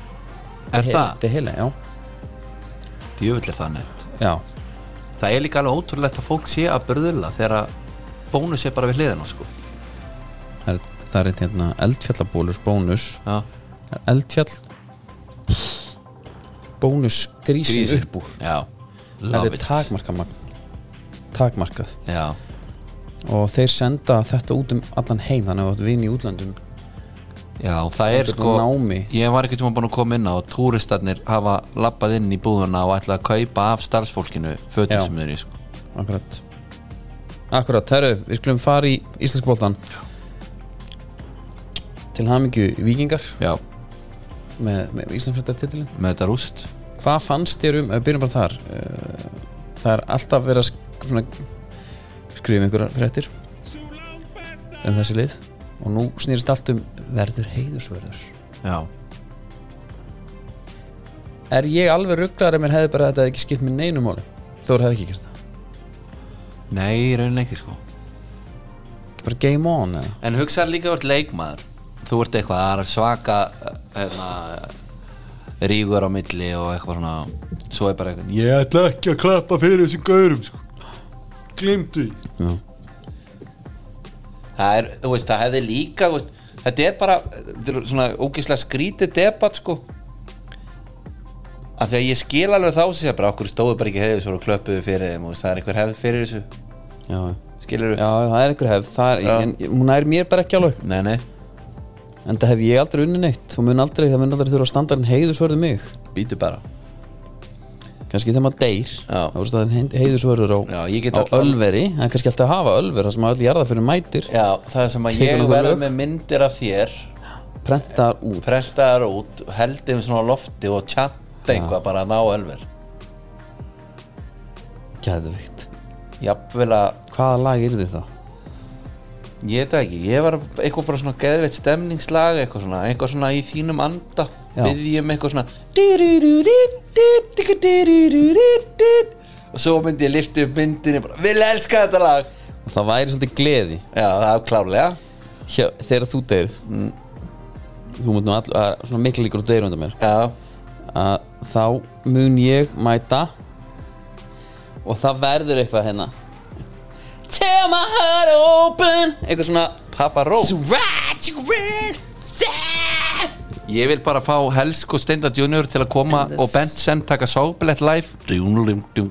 Speaker 2: Er það?
Speaker 1: Þetta heila, já
Speaker 2: djöfull er það nefnt
Speaker 1: já,
Speaker 2: það er líka alveg ótrúlegt að fólk sé að börðula þegar að bónus er bara við hliðina sko.
Speaker 1: það er, það er eitt hérna eldfjallabólur bónus
Speaker 2: já,
Speaker 1: Það er eldfjall bónus grísin
Speaker 2: Grísin.
Speaker 1: upp úr
Speaker 2: já,
Speaker 1: það
Speaker 2: love
Speaker 1: er
Speaker 2: it
Speaker 1: takmarkamagn takmarkað
Speaker 2: já,
Speaker 1: og þeir senda þetta út um allan heim þannig að við vinn í útlöndum
Speaker 2: já, það er
Speaker 1: er
Speaker 2: sko
Speaker 1: námi.
Speaker 2: ég var ekkert um að búin að koma inn á og túristarnir hafa lappað inn í búðuna og ætla að kaupa af starfsfólkinu fötum
Speaker 1: Já.
Speaker 2: sem þeir í sko.
Speaker 1: akkurat akkurat, herru, við skulum fara í Íslensk bóltan til hamingju vikingar
Speaker 2: já,
Speaker 1: með, með Íslandsfjölda titilin
Speaker 2: með þetta rúst
Speaker 1: hvað fannst þér um, ef við byrjum bara þar eh, það er alltaf verið að sk- svona, skrifa um einhverjar fréttir
Speaker 4: Sú langt besta
Speaker 1: um þessi lið og nú snýrist allt um verður heiðusverður
Speaker 2: já,
Speaker 1: er ég alveg rugglar ef mér hefði bara þetta ekki skipt með neinum máli Þór hefði ekki gert það,
Speaker 2: nei, í rauninni ekki sko
Speaker 1: ekki bara game on eða?
Speaker 2: En hugsaðu líka úr leikmaður Þú ert eitthvað, það er svaka hérna, rígur á milli og eitthvað svona svo er bara eitthvað, ég ætla ekki að klappa fyrir þessum gaurum sko. glimtu
Speaker 1: Já.
Speaker 2: það er, þú veist, það hefði líka þú veist, þetta er bara þetta er svona ógislega skrítið debat sko af því að ég skil alveg þá sér bara okkur stóðu bara ekki hefði svo og klöppuðu fyrir þeim og þú veist, það er einhver hefð fyrir þessu,
Speaker 1: Já.
Speaker 2: skilur
Speaker 1: já, það er einhver hefð það er,
Speaker 2: Já.
Speaker 1: en, hún er mér bara ekki alveg
Speaker 2: Nei, nei,
Speaker 1: en það hef ég aldrei unni neitt og mun aldrei, það mun aldrei þurfa að standa en heiðusverður mig
Speaker 2: býtu bara
Speaker 1: kannski þegar maður deyr
Speaker 2: Já.
Speaker 1: þá er staðan heiðusverður á,
Speaker 2: Já, ég get
Speaker 1: á
Speaker 2: alltaf-
Speaker 1: ölveri það er kannski alltaf að hafa ölver það sem öll jarða fyrir mætir
Speaker 2: Já, það er sem að
Speaker 1: Tekur
Speaker 2: ég
Speaker 1: nokkur
Speaker 2: verður
Speaker 1: lög?
Speaker 2: með myndir af þér
Speaker 1: prentar út
Speaker 2: prentaðar út, heldum svona á lofti og tjatta eitthvað bara að ná ölver
Speaker 1: Geðvikt.
Speaker 2: jafnvel að,
Speaker 1: hvaða lag er þið það?
Speaker 2: ég veit það ekki ég var eitthvað bara svona geðveitt stemningslag eitthvað svona, eitthvað svona í þínum anda
Speaker 1: Já.
Speaker 2: byrjum eitthvað svona og svo myndi ég lifta upp myndinni bara, vil elska þetta lag
Speaker 1: það væri svolítið gleði
Speaker 2: já, það er klárlega
Speaker 1: Hjá, þegar þú deyrið
Speaker 2: Mm.
Speaker 1: þú mútt nú all, að, svona miklu líkur og deyrið undan mér
Speaker 2: já,
Speaker 1: að þá mun ég mæta og það verður eitthvað hérna Tear my heart open eitthvað svona
Speaker 2: Papa Ró
Speaker 1: Right you win sad.
Speaker 2: Ég vil bara fá Helsk og Steinda Junior til að koma
Speaker 1: And this-
Speaker 2: og Benson taka sáblett live Djúnlum, djúm.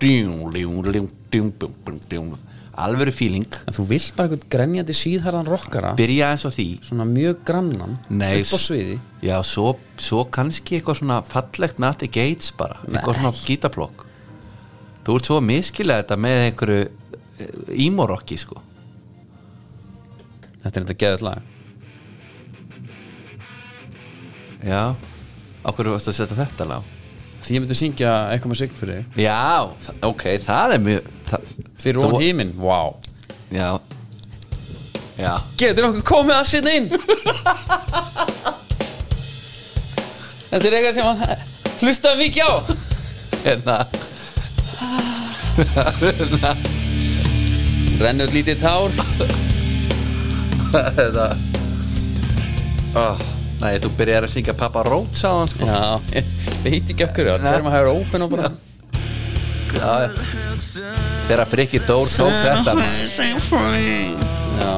Speaker 2: Djúnlum, djúm, djúm, djúm, djúm. Alvöru feeling
Speaker 1: En þú vilt bara eitthvað grenjandi síðharðan rockara
Speaker 2: Byrja eins og því
Speaker 1: svona mjög grannan
Speaker 2: Nei,
Speaker 1: upp á sviði
Speaker 2: Já, svo, svo kannski eitthvað svona fallegt Nati Gates bara Eitthvað svona gítaplokk Þú ert svo að miskila þetta með einhverju eh, Ímorokki sko
Speaker 1: Þetta er þetta geðið lag
Speaker 2: Já Á hverju varstu að setja þetta lág?
Speaker 1: Því ég myndi syngja eitthvað með sign fyrir þig
Speaker 2: Já, þa- ok, það er mjög það,
Speaker 1: Fyrir
Speaker 2: það
Speaker 1: hún
Speaker 2: vo-
Speaker 1: híminn wow.
Speaker 2: Já Já
Speaker 1: Getur okkur komið að sinna inn Þetta er eitthvað sem hann hlustaði mikið á
Speaker 2: hérna
Speaker 1: Rennur lítið tár
Speaker 2: þetta oh, hérna. Nei, þú byrjar að syngja Papa Roach á hann sko
Speaker 1: Já, ég veit ekki okkur Það er maður að hafa open og bara
Speaker 2: Já. Þegar Frikki Dór tók þetta
Speaker 1: Já,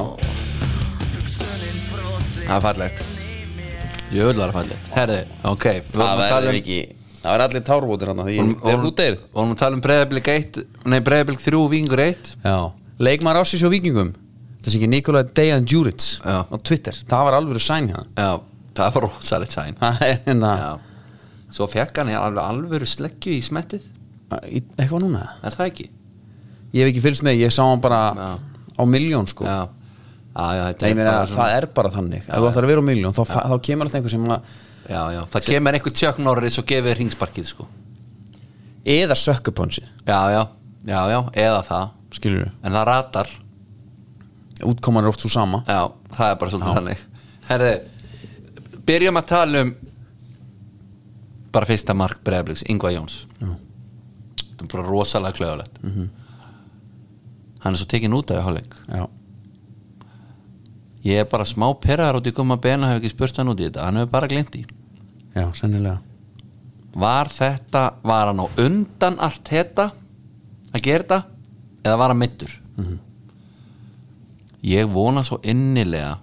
Speaker 2: Það er fallegt Ég vil vera fallegt Herði, ok við vorum
Speaker 1: það
Speaker 2: að tala
Speaker 1: verður
Speaker 2: um-
Speaker 1: ekki Það verður allir tárvótir hann
Speaker 2: vorum-
Speaker 1: Þegar þú
Speaker 2: vorum-
Speaker 1: deyrð
Speaker 2: Vorum að tala um Breiðablík 1 Nei, Breiðablík 3, Vingur 1
Speaker 1: Já, leikmaður ásins hjá vikingum Þessi ekki Nikolai Dejan Djuric
Speaker 2: Já.
Speaker 1: Á Twitter, það var alvöru sæn hjá hann
Speaker 2: Já, það var rosalegt sæn
Speaker 1: Það er hérna
Speaker 2: Já Svo fekk hann í alveg alvöru sleggju í smettið
Speaker 1: í- Eitthvað núna
Speaker 2: Er það ekki?
Speaker 1: Ég hef ekki fylgst með, ég sá hann bara
Speaker 2: Já.
Speaker 1: á miljón sko
Speaker 2: Já Já, já, þetta
Speaker 1: Nei, ég
Speaker 2: er
Speaker 1: meina,
Speaker 2: bara svona-
Speaker 1: það er bara þannig ef þú ætlar að vera á miljón þá, fa- þá kemur alltaf einhver sem að,
Speaker 2: Já, já, það kemur einhver Chuck Norris og gefur ringsparkið sko
Speaker 1: eða sökkuponsi
Speaker 2: Já, já, já, já, eða það
Speaker 1: skilur
Speaker 2: En það ratar,
Speaker 1: við útkoman er oft svo sama
Speaker 2: já, það er bara svolítið þannig Herði, byrjum að tala um bara fyrsta mark Breiðabliks, Ingvar Jóns
Speaker 1: Já.
Speaker 2: Það er bara rosalega klöðulegt Hann er svo tekinn út af í hálfleik
Speaker 1: já,
Speaker 2: Ég er bara smá perraðar út í koma bena hef ekki spurt hann út í þetta, hann hefur bara glemt í
Speaker 1: já, sennilega
Speaker 2: var þetta, var hann á undan Arteta að gera þetta eða var hann mittur
Speaker 1: Mhm.
Speaker 2: ég vona svo innilega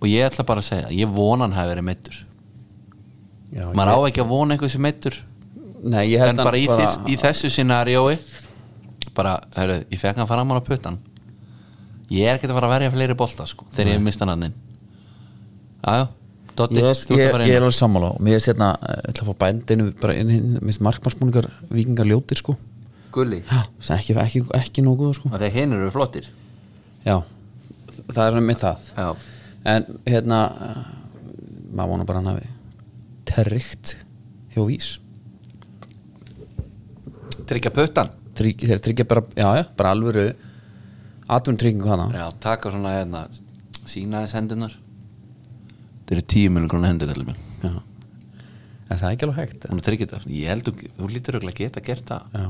Speaker 2: og ég ætla bara að segja ég vona hann hafi verið mittur
Speaker 1: Já,
Speaker 2: maður á ekki að vona einhver sem mittur
Speaker 1: Nei, ég held
Speaker 2: en bara í,
Speaker 1: bara
Speaker 2: þess, í þessu scenariói bara, hörru, ég fekk hann fram hann á puttan ég er ekki að fara að verja fleiri bolta sko, þegar ég mista hann inn aðjó, Dotti
Speaker 1: Ég,
Speaker 2: þú ert að
Speaker 1: ég,
Speaker 2: fara
Speaker 1: ég er
Speaker 2: inn
Speaker 1: alveg sammála og mér er sérna, ég ætla að fá bændinu bara inn hinn, minnst markmannsbúningar vikingar ljótir sko,
Speaker 2: gulli,
Speaker 1: já, sem ekki, ekki, ekki nógu góður, sko,
Speaker 2: það er hinn eru flottir
Speaker 1: já það er með það
Speaker 2: já,
Speaker 1: en hérna, eh, maður vonar bara að hann hafi terrikt hjá vís
Speaker 2: tryggja puttan
Speaker 1: Trygg, þeir tryggja bara, já, já, bara alvöru atvinnum tryggingu hana
Speaker 2: já, taka svona hérna sína þess hendunar þeir eru tíu miljonar grónu hendur til minn
Speaker 1: já. er það ekki alveg hægt
Speaker 2: hún er tryggja þetta, ég held þú- þú lítur örugglega að geta gert það
Speaker 1: já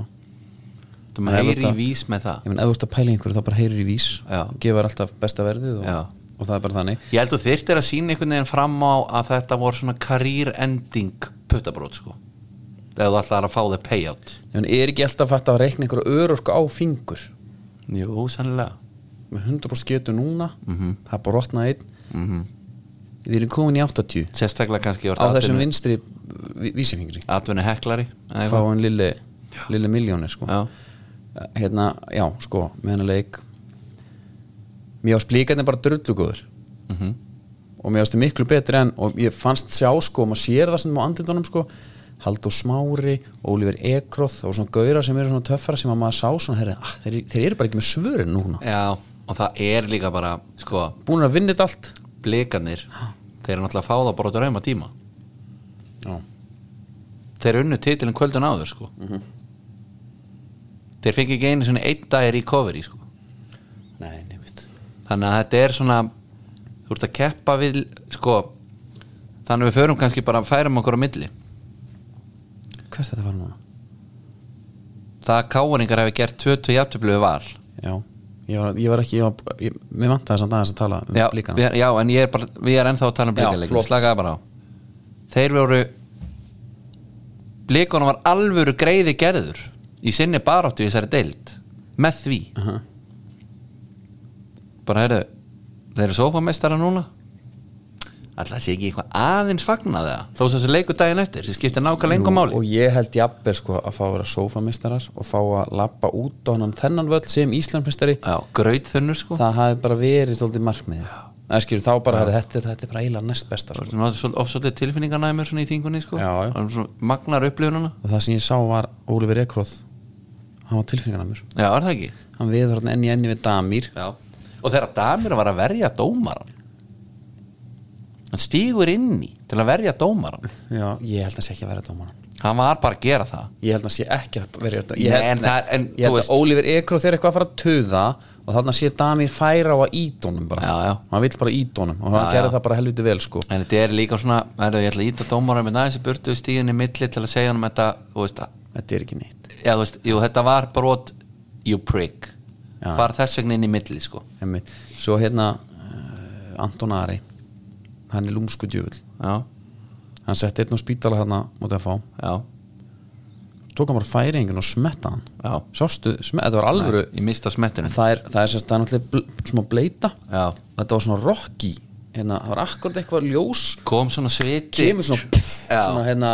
Speaker 2: þú
Speaker 1: Nei,
Speaker 2: meiri í
Speaker 1: þetta-
Speaker 2: vís með það
Speaker 1: ég menn, ef þú ert að pæla í einhverju þá bara heyrir í vís
Speaker 2: Já.
Speaker 1: gefur alltaf besta verðið
Speaker 2: Já.
Speaker 1: og, og það er bara þannig
Speaker 2: Ég held að þyrftir að sína einhvern veginn fram á að þetta voru svona career ending puttabrót sko eða þú ætlaðar að fá þig payout
Speaker 1: ég menn, er ekki alltaf fætt að reikna einhverju örorku á fingur
Speaker 2: Jú, sannlega
Speaker 1: með 100% getu núna það er bara rotnað einn við erum komin í 80
Speaker 2: Mhm. Sérstaklega kannski
Speaker 1: á þessum vinstri vi- vísifingri
Speaker 2: Atvinni heklari eða
Speaker 1: fá
Speaker 2: eitthvað.
Speaker 1: hann lille, lille miljónir sko.
Speaker 2: Já,
Speaker 1: hérna, já, sko, með hennar leik mér ást blíkarnir bara drullugóður og mér ást þið miklu betri en og ég fannst sjá, sko, maður sér það sem á andindunum, sko, Haldur Smári Ólífur Ekroth og svona gaurar sem eru svona töffara sem að maður sá svona herri, ah, þeir, þeir eru bara ekki með svörin núna
Speaker 2: já, og það er líka bara sko,
Speaker 1: búin að vinna þetta allt
Speaker 2: blikanir þeir eru náttúrulega að fá það bara á drauma tíma
Speaker 1: já,
Speaker 2: Þeir unnu titilin kvöldun áður sko Þeir fengi ekki einu svona einn dagir í covery sko
Speaker 1: nei, nefnt
Speaker 2: þannig að þetta er svona þú ert að keppa við sko, þannig að við förum kannski bara færum okkur á milli
Speaker 1: hvert þetta var núna?
Speaker 2: það að káringar hefur gert 20 jafntöflu við val
Speaker 1: já, ég var, ég var ekki ég var, ég, mér vantaði samt aðeins að tala um
Speaker 2: já,
Speaker 1: blíkana
Speaker 2: við, já, en ég er bara, við erum ennþá að tala um
Speaker 1: Já,
Speaker 2: blíkaleikin
Speaker 1: flott.
Speaker 2: slakaði bara á þeir voru blíkunum var alvöru greiði gerður í sinni baráttu í þessari deild með því
Speaker 1: Aha.
Speaker 2: bara heyrðu þeir eru sófamestara núna alltaf sé ekki eitthvað aðeins fagnaði það þó sem þessu leikur daginn eftir sem skiptir nákvæmlega engum máli
Speaker 1: og ég held jafnvel sko að fá að vera sófamistarar og fá að lappa út á hann þennan völl sem Íslandmistari
Speaker 2: Já, grauðþunnur sko
Speaker 1: það hafi bara verið svolítið markmið það skilur þá bara herri, þetta, er- þetta er bara eiginlega næst besta sko.
Speaker 2: Svona maður svol- oft svolítið tilfinninganæmur svona í þingunni sko
Speaker 1: Já, já.
Speaker 2: Og svona Magnar upplifununa
Speaker 1: og það sem ég sá var Ólífur Ekroð hann var tilfinningan af mér
Speaker 2: Já, er það ekki?
Speaker 1: hann viður hann enni enni við Damir
Speaker 2: Já Og þegar Damir var að verja dómaran Hann stígur inn í til að verja dómaran
Speaker 1: já, ég held að sé ekki að vera dómaran
Speaker 2: Hann var bara að gera það
Speaker 1: ég held að sé ekki að vera dómaran
Speaker 2: Nei,
Speaker 1: ég held,
Speaker 2: en það er- en
Speaker 1: ég
Speaker 2: þú
Speaker 1: held
Speaker 2: veist-
Speaker 1: að Ólífur Ekroð er eitthvað að fara að töða og þannig að sé Damir færa á að ídónum bara
Speaker 2: Já, já.
Speaker 1: hann vill bara ídónum og hann
Speaker 2: Já,
Speaker 1: gerði
Speaker 2: já.
Speaker 1: það bara helviti vel sko
Speaker 2: En þetta er líka svona er, Ég ætla að íta dómaran með næs í burtu stíðin í milli til að segja hann um þetta Þú veist að
Speaker 1: þetta er ekki neitt
Speaker 2: Já, þú veist Jú, þetta var brot You prick
Speaker 1: Já.
Speaker 2: Far þess vegna inn í milli sko
Speaker 1: Einmitt. Svo hérna uh, Anton Ari hann er lúmsku djöfull
Speaker 2: Já,
Speaker 1: hann setti einn á spítala hérna mútið að fá
Speaker 2: já,
Speaker 1: tók hann bara færingin og smetta hann
Speaker 2: já
Speaker 1: sástu, smet, þetta var alvöru
Speaker 2: Ég mista smettunum
Speaker 1: það er, það er sérst, það er náttúrulega bl smá bleita
Speaker 2: Já
Speaker 1: þetta var svona rocky hérna, það var akkurat eitthvað ljós
Speaker 2: Kom svona sviti
Speaker 1: kemur svona, pff,
Speaker 2: Já.
Speaker 1: svona hérna,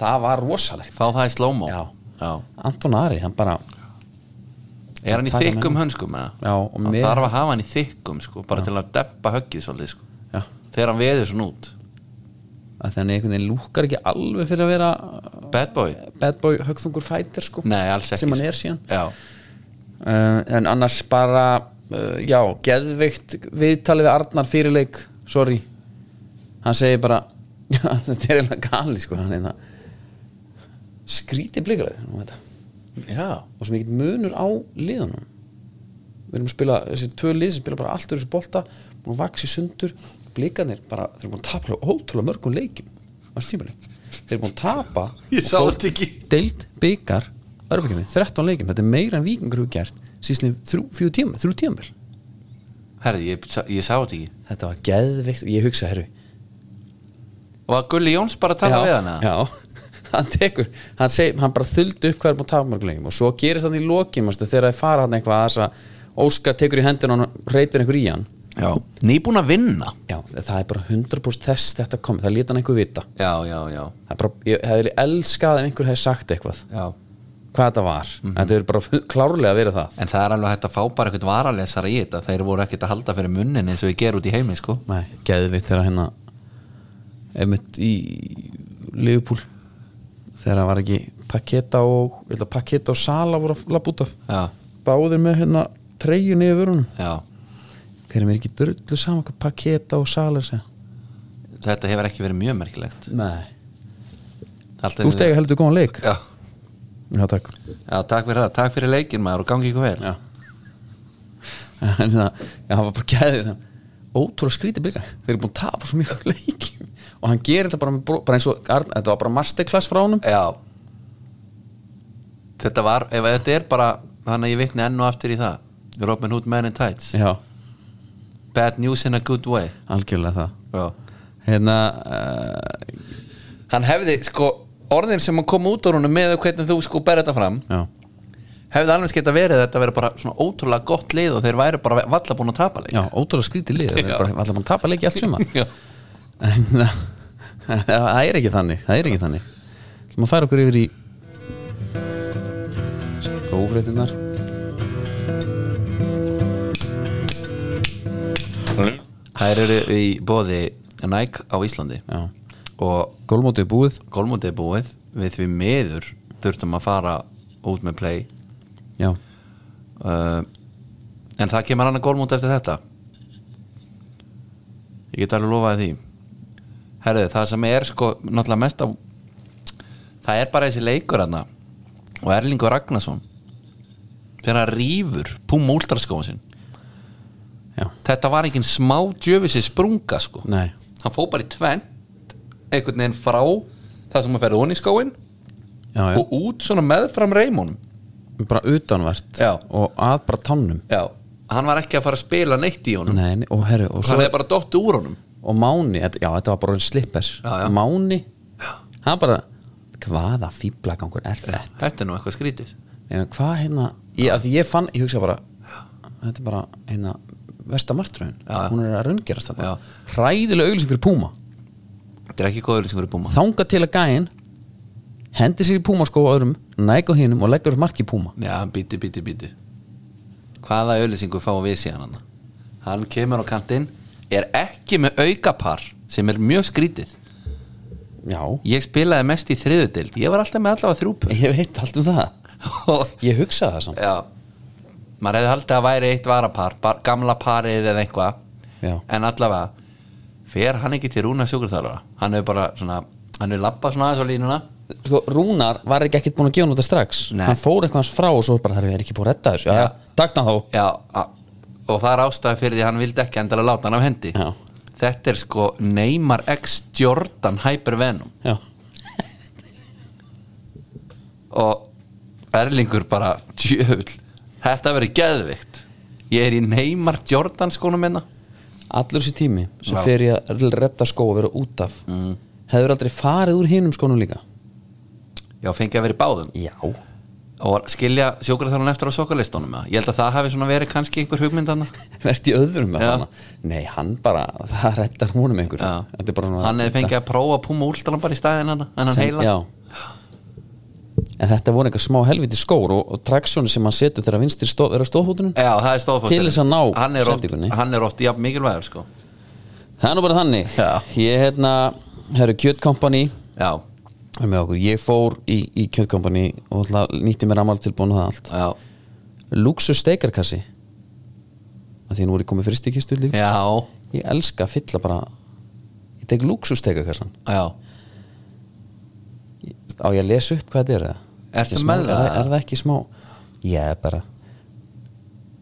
Speaker 1: það var rosalegt
Speaker 2: Fá það í slow-mo
Speaker 1: Já.
Speaker 2: Já.
Speaker 1: Anton Ari, hann bara
Speaker 2: Er hann í
Speaker 1: Taka
Speaker 2: þykkum
Speaker 1: með.
Speaker 2: hönskum eða?
Speaker 1: Já, og
Speaker 2: Hann
Speaker 1: með-
Speaker 2: þarf að hafa hann í þykkum sko, bara til að deppa höggið svolítið sko.
Speaker 1: já,
Speaker 2: Þegar hann veður svona út
Speaker 1: að þannig einhvern veginn lúkar ekki alveg fyrir að vera uh,
Speaker 2: Bad boy?
Speaker 1: bad boy högþungur fighter sko
Speaker 2: Nei, alls ekki
Speaker 1: sem hann
Speaker 2: sko.
Speaker 1: er síðan
Speaker 2: Já,
Speaker 1: uh, en annars bara uh, já, geðveikt viðtalið við Arnar fyrirleik, sorry hann segir bara þetta er eiginlega gali sko hann einna skríti blikaleg og
Speaker 2: já,
Speaker 1: svo mikið munur á liðunum við erum að spila, þessi tvö lið sem spila bara allt úr þessu bolta, búin að vaxi sundur blikanir bara, þeir eru búin að tapa alveg ótrúlega mörgum leikjum á þessu tímabili. þeir eru búin að tapa
Speaker 2: Ég
Speaker 1: og
Speaker 2: sá
Speaker 1: fór-
Speaker 2: þetta ekki.
Speaker 1: deild, byggar, örbyggjarni 13 leikjum, þetta er meira en vikingur hefur gert síðan þrjú tíma, þrjú tíma
Speaker 2: herri, ég, ég sá þetta ekki
Speaker 1: þetta var geðveikt og ég hugsa, herru
Speaker 2: Var Gulli Jóns bara að tala við hana?
Speaker 1: já, hann tekur hann, seg, hann bara þuldi upp hvað er búin takmörgulegjum og svo gerist hann í lokin manstu, þegar það fara hann eitthvað að þess að Óskar tekur í hendun og hann reytir einhver í hann
Speaker 2: Já, nýbúin að vinna
Speaker 1: já, það er bara 100% þess þetta komið það lét hann einhver vita
Speaker 2: Já, já, já,
Speaker 1: Það er bara, ég hefði elskað ef einhver hefði sagt eitthvað
Speaker 2: já.
Speaker 1: hvað þetta var, þetta er bara klárlega að vera það
Speaker 2: En það er alveg hægt að fá bara eitthvað varalesara í þetta Þeir voru ekkert að halda fyrir munnin eins og ég ger út í heimi sko.
Speaker 1: Nei, geðvitt þegar hérna einmitt í Liverpool þegar það var ekki Paketa og ég held að Paketa og Sala voru að lapp út af
Speaker 2: Já,
Speaker 1: báðir með hérna treyju niður vörunum
Speaker 2: já
Speaker 1: hver er mér ekki drullu saman hvað Paketa og Sala segja
Speaker 2: Þetta hefur ekki verið mjög merkilegt
Speaker 1: Nei,
Speaker 2: Alltaf
Speaker 1: þú stegi heldur góðan leik
Speaker 2: já.
Speaker 1: Já, takk
Speaker 2: já, takk fyrir það, takk fyrir leikinn maður og gangi ykkur vel
Speaker 1: Já, en það, já, það var bara geðið þann ótrúlega skrítið byrja þeir eru búin að tapa svo mjög leikim og hann gerir þetta bara, með, bró- bara eins og Arn- þetta var bara masterclass frá honum
Speaker 2: Já Þetta var, ef þetta er bara Þannig að ég vitni enn og aftur í það Robin Hood Man in Tights
Speaker 1: Já,
Speaker 2: Bad news in a good way
Speaker 1: algjörlega það
Speaker 2: já.
Speaker 1: hérna uh,
Speaker 2: Hann hefði, sko, orðin sem hann kom út á húnum með hvernig þú sko ber þetta fram
Speaker 1: já,
Speaker 2: hefði alveg skeitt að verið að þetta verið bara svona ótrúlega gott lið og þeir væri bara valla búin að tapa leik
Speaker 1: já, ótrúlega skrítið lið það
Speaker 2: Já.
Speaker 1: er bara allar mann tapa leiki allt suma
Speaker 2: Já.
Speaker 1: eh, það er ekki þannig það er ekki þannig sem að færa okkur yfir í ófréttinnar
Speaker 2: Þær eru í bóði Nike á Íslandi
Speaker 1: já,
Speaker 2: og
Speaker 1: gólmótið er búið
Speaker 2: golfmótið er búið við því miður þurftum að fara út með play
Speaker 1: já,
Speaker 2: uh, en það kemur annað golfmót eftir þetta ég get alveg lofaði því herðu það sem er sko náttúrulega mest á það er bara þessi leikur hann og Erlingur Ragnarsson þegar hann rýfur púma úldraskóðan sinn
Speaker 1: já,
Speaker 2: þetta var engin smá djöfisi sprunga sko
Speaker 1: nei
Speaker 2: hann fó bara í tvent einhvern veginn frá það sem hann ferði honi í skóin
Speaker 1: já, já.
Speaker 2: og út svona meðfram reimunum
Speaker 1: bara utanvert
Speaker 2: Já.
Speaker 1: og að bara tannum
Speaker 2: já, hann var ekki að fara að spila neitt í honum
Speaker 1: Nei, nei, og, herri, og,
Speaker 2: hann
Speaker 1: svo,
Speaker 2: er bara dottu úr honum
Speaker 1: og Máni, þetta- já þetta var bara slippers
Speaker 2: Já, já.
Speaker 1: Máni, hann bara hvaða fýblagangur er þetta
Speaker 2: þetta er nú eitthvað skrítið
Speaker 1: Nei, hvað hérna, ég, að því ég fann ég hugsa bara, þetta er bara hérna, vestamartröðin,
Speaker 2: Já, já.
Speaker 1: hún er að raungerast þetta,
Speaker 2: Já.
Speaker 1: hræðilega auglýsing fyrir Púma
Speaker 2: þetta er ekki góður sem verið búma
Speaker 1: þanga til að gæinn hendi sér í Púma sko öðrum, næg á hinum og leggur upp marki í Púma
Speaker 2: já, bíti, bíti, bíti hvaða auðlýsingu fá við síðan hann hann kemur á kantinn er ekki með aukapar sem er mjög skrítið
Speaker 1: já,
Speaker 2: ég spilaði mest í þriðudild ég var alltaf með allavega þrjúpu
Speaker 1: ég veit allt um það
Speaker 2: og
Speaker 1: ég hugsaði það samt,
Speaker 2: Já Maður hefði haldið að væri eitt varapar bar, Gamla parið eða eitthvað
Speaker 1: Já.
Speaker 2: En allavega Fer hann ekki til Rúna sjúkurþjálfara Hann hefur bara svona Hann hefur labbað svona aðeins á línuna
Speaker 1: sko Rúnar var ekki ekkert búin að gefa nú þetta strax
Speaker 2: Nei.
Speaker 1: hann fór eitthvað hans frá og svo bara, herru, ég er ekki búin að redda þessu já, já, takk þá
Speaker 2: Já a- Og það er ástæði fyrir því að hann vildi ekki endilega láta hann af hendi
Speaker 1: Já.
Speaker 2: Þetta er sko Neymar X Jordan Hypervenom
Speaker 1: já,
Speaker 2: Og Erlingur bara Djöfull Þetta verið geðvikt Ég er í Neymar Jordan skónum hérna. minna
Speaker 1: allur þessi tími sem
Speaker 2: Já.
Speaker 1: fer ég að redda skó og vera út af mm. hefur aldrei farið úr hinum skónum líka
Speaker 2: Já, fengi að vera í báðum
Speaker 1: já,
Speaker 2: og skilja sjókraþjálun eftir á sokkalistunum eða? ég held að það hafi svona verið kannski einhver hugmyndana
Speaker 1: verðt í öðrum með
Speaker 2: Já.
Speaker 1: hana nei, hann bara, það reddar húnum einhver þetta er bara svona
Speaker 2: hann hefði fengið að prófa að púma últalan bara í staðin hana en hann
Speaker 1: Sem-
Speaker 2: heila
Speaker 1: já. en þetta voru einhver smá helviti skór og, og traksjónu sem hann setur þegar vinstir stó, er á stóðhútunum
Speaker 2: Já, það er stóðfóstur
Speaker 1: Til þess að ná
Speaker 2: hann er oft,
Speaker 1: sendingunni.
Speaker 2: hann er oft jafn mikilvægur sko
Speaker 1: það er nú bara þannig
Speaker 2: Já.
Speaker 1: ég hérna, herru, Kjöt Company
Speaker 2: já,
Speaker 1: er með okkur, ég fór í, í Kjöt Company og alltaf nýtti mér amal tilbúinu það allt
Speaker 2: já,
Speaker 1: Luxus steikarkassi að því nú er ég komið fyrst í kistu líf
Speaker 2: já,
Speaker 1: ég elska að fylla bara ég tek Luxus steikarkassan
Speaker 2: já.
Speaker 1: á ég að lesa upp hvað þetta er eða?
Speaker 2: Ertu
Speaker 1: Ekki smá-
Speaker 2: með
Speaker 1: er
Speaker 2: það?
Speaker 1: er það ekki smá ég er bara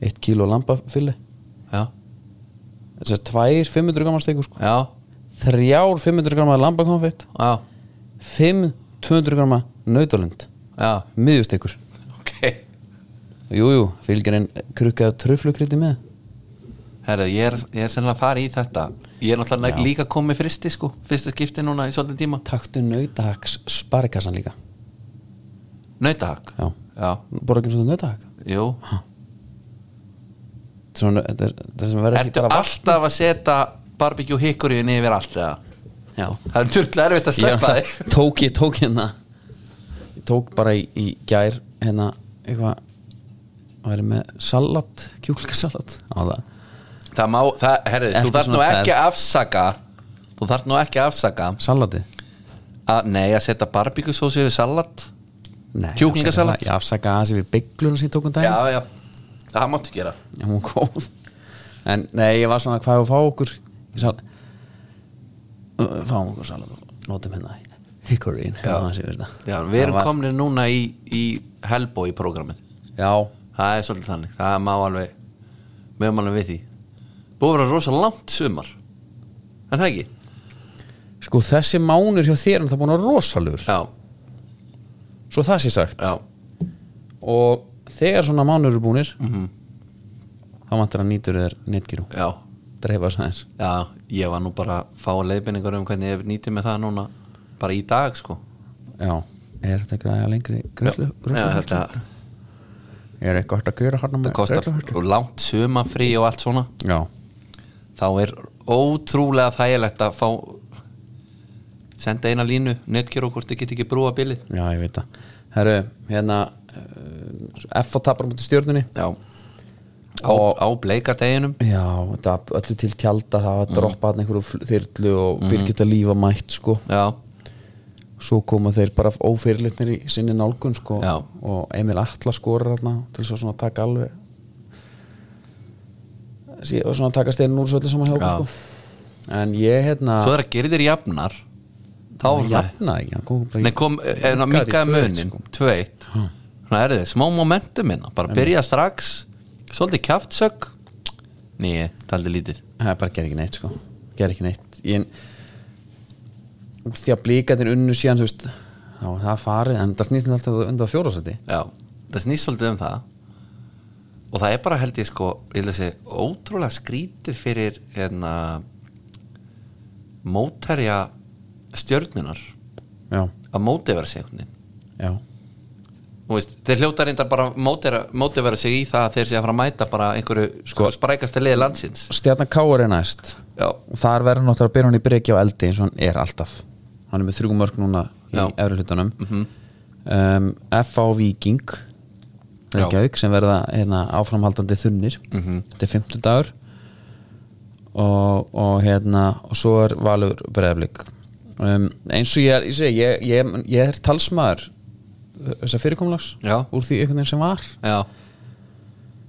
Speaker 1: eitt kíló lambafili
Speaker 2: já,
Speaker 1: þess að tvær 500 grammar steikur sko.
Speaker 2: já,
Speaker 1: þrjár 500 grammar lambakonfett
Speaker 2: já,
Speaker 1: fimm 200 grammar nautalund
Speaker 2: já
Speaker 1: miðustekur
Speaker 2: ok,
Speaker 1: jújú, fylgjarinn krukkaðu tröflukriti með
Speaker 2: herru, ég er, ég er sennilega að fara í þetta ég er náttúrulega líka komið fristi sko fyrsta skipti núna í svolítið tíma
Speaker 1: Taktu nautahaks sparikassan líka
Speaker 2: nautahakk
Speaker 1: Já.
Speaker 2: já,
Speaker 1: Borða ekki svona nautahak
Speaker 2: jú
Speaker 1: Svona, þetta er það sem verður ekki
Speaker 2: ertu
Speaker 1: bara vatn.
Speaker 2: alltaf að setja barbecue hikkuríun yfir allt eða
Speaker 1: Já
Speaker 2: það er tjörlega erfitt að
Speaker 1: Ég er
Speaker 2: sleppa
Speaker 1: alltaf-
Speaker 2: þig
Speaker 1: tók ég tók hérna Ég tók bara í, í gær hérna eitthvað væri með salat, kjúklikasalat á það
Speaker 2: það má, það, herri,
Speaker 1: Ertu
Speaker 2: þú þarf nú
Speaker 1: svona
Speaker 2: ekki
Speaker 1: ferð?
Speaker 2: að afsaka þú þarf nú ekki að afsaka
Speaker 1: Salati?
Speaker 2: að, nei, að setja barbecue sósi yfir salat
Speaker 1: Nei,
Speaker 2: Kjúklingasalat?
Speaker 1: Ég afsaka það sem við byggluna sem ég tók um
Speaker 2: já,
Speaker 1: daginn
Speaker 2: já, það máttu gera
Speaker 1: Já, hún var góð En nei, ég var svona hvað ég að fá okkur Ég sal... Ö, Fáum okkur salat og notum hérna Hickory
Speaker 2: Já. já, við erum
Speaker 1: var...
Speaker 2: komnir núna í, í Hellboy programmið
Speaker 1: Já,
Speaker 2: það er svolítið þannig, það má alveg við erum alveg við því búið að vera rosa langt sumar en það ekki,
Speaker 1: sko þessi mánur hjá þér er það búin að vera rosalur
Speaker 2: já,
Speaker 1: Svo það sé sagt
Speaker 2: já
Speaker 1: Og þegar svona mánur eru búnir Þá vantar að nýtur þér netgíru
Speaker 2: já,
Speaker 1: Dreifa þess aðeins
Speaker 2: já, ég var nú bara að fá leiðbendingar um hvernig ég nýti með það núna bara í dag sko
Speaker 1: Já, er þetta græða lengri
Speaker 2: já,
Speaker 1: græslu?
Speaker 2: já, þetta,
Speaker 1: Er eitthvað hægt að gera hann
Speaker 2: það kostar og langt sumafrí og allt svona
Speaker 1: Já,
Speaker 2: þá er ótrúlega þægilegt að fá senda eina línu, netgjur og hvort þið get ekki brúa bilið
Speaker 1: já, ég veit það Herru, hérna eh, F og tapar mútið stjörnunni
Speaker 2: já, á,
Speaker 1: Og-
Speaker 2: á bleikadeginum
Speaker 1: Já, þetta öllu til tjálta það var að droppa hann einhverju fl- þyrlu og mm. Birgitta lífa mætt sko
Speaker 2: já,
Speaker 1: svo koma þeir bara ófyrirlitnir í sinni nálgun sko
Speaker 2: Já.
Speaker 1: og Emil Atla skorar hann til svo svona að taka alveg sí, og svona að taka steinin úr svo öllu saman hjá
Speaker 2: Já.
Speaker 1: okkur sko en ég hérna
Speaker 2: svo þegar gerir þér jafnar þá var svona
Speaker 1: jafna ekki hann kom bara í-
Speaker 2: Nei, kom, en
Speaker 1: Minkaði
Speaker 2: að minkaði
Speaker 1: í 2-1,
Speaker 2: munin
Speaker 1: sko.
Speaker 2: 2-1 Svona er þið, smá momentum minna bara byrja strax, svolítið kjaftsök Nei, taldi lítið
Speaker 1: það er bara ger ekki neitt sko ger ekki neitt ég, úr því að blíkandir unnu síðan þú veist þá var það farið en það snýst alltaf undan fjórasæti
Speaker 2: Já, það snýst svolítið um það og það er bara held ég sko ég lesi, ótrúlega skrítið fyrir hérna mótherja stjörnunar
Speaker 1: já
Speaker 2: að mótivera sig einhvern veginn.
Speaker 1: já
Speaker 2: Þú veist, þeir hljóta reyndar bara að mótera- mótivera sig í það að þeir sé að fara að mæta bara einhverju sko, sprækasta liði landsins
Speaker 1: stjarnan Káur er næst
Speaker 2: Já,
Speaker 1: og þar verður náttúrulega að byrja hann í breki á eldi eins og hann er alltaf hann er með þrjú mörg núna í
Speaker 2: Já. Mhm.
Speaker 1: efri hlutunum um, FA og Viking
Speaker 2: Já. Mhm.
Speaker 1: Reykjavík sem verða hérna, áframhaldandi þunnir þetta er 50 dagur og, og hérna og svo er Valur Breiðablík um, eins og ég, er- ég, segi, ég, ég, ég er talsmaður þessar fyrirkomlags
Speaker 2: Já.
Speaker 1: úr því einhvern veginn sem var
Speaker 2: já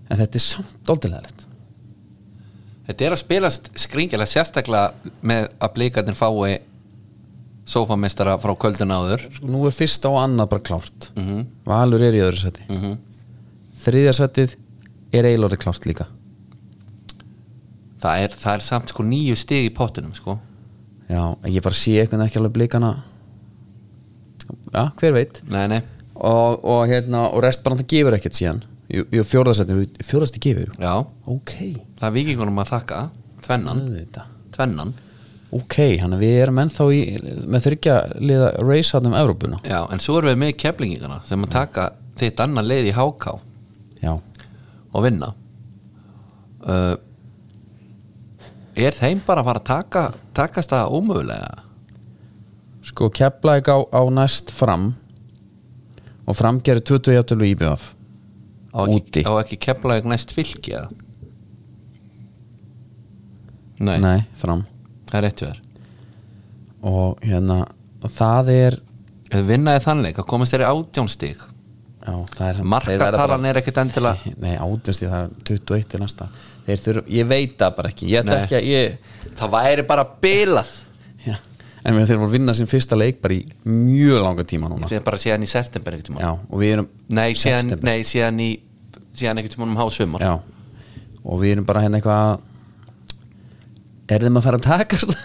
Speaker 1: en þetta er samt dóldilega rétt
Speaker 2: Þetta er að spilast skringilega sérstaklega með að blíkarnir fái sófamestara frá kvöldun áður
Speaker 1: sko, nú er fyrsta og annað bara klárt Valur er í öðru seti mm -hmm. þriðja setið er eilóri klárt líka
Speaker 2: það er, það er samt sko nýju stig í pottinum sko
Speaker 1: já, ég bara sé einhvern veginn ekki alveg blikana já, hver veit
Speaker 2: Nei, nei,
Speaker 1: og, og, hérna, og restbarnanda gefur ekkert síðan jú, jú fjórðasettin, fjórðasti gefur
Speaker 2: já,
Speaker 1: ok,
Speaker 2: það er vikingunum að þakka Tvennan,
Speaker 1: auðvitað
Speaker 2: tvennan
Speaker 1: ok, hann að við erum ennþá í með þryggja liða race hann um Evrópuna
Speaker 2: Já, en svo erum við með keflingingana sem að taka þitt annað leið í háká
Speaker 1: já,
Speaker 2: og vinna uh, Er þeim bara að fara að taka takast það ómögulega?
Speaker 1: sko keplæk á, á næst fram og fram gerir 20 jæftölu íbjöf
Speaker 2: Á ekki,
Speaker 1: Úti.
Speaker 2: á ekki kefla ekki næst fylki eða? Nei,
Speaker 1: nei, fram
Speaker 2: það er réttu þér
Speaker 1: og hérna og það er
Speaker 2: Ef vinnaði þannleik að komast þeirri átjónstig
Speaker 1: já, það er
Speaker 2: Markatalan er ekkit endilega
Speaker 1: nei átjast ég það er 21 í næsta þeir þurfa ég veit það bara ekki ég ætla
Speaker 2: Nei.
Speaker 1: ekki að ég
Speaker 2: Það væri bara bilað
Speaker 1: já, en mér þeir voru að vinna sin fyrsta leik bara í mjög langa tíma núna
Speaker 2: Þegar bara séðan í september ekkert tíma
Speaker 1: já og við erum
Speaker 2: Nei, séðan,
Speaker 1: September.
Speaker 2: nei, séðan í síðan ekkert tíma um hásumar
Speaker 1: já og við erum bara hérna eitthvað að- er þeim að fara að takast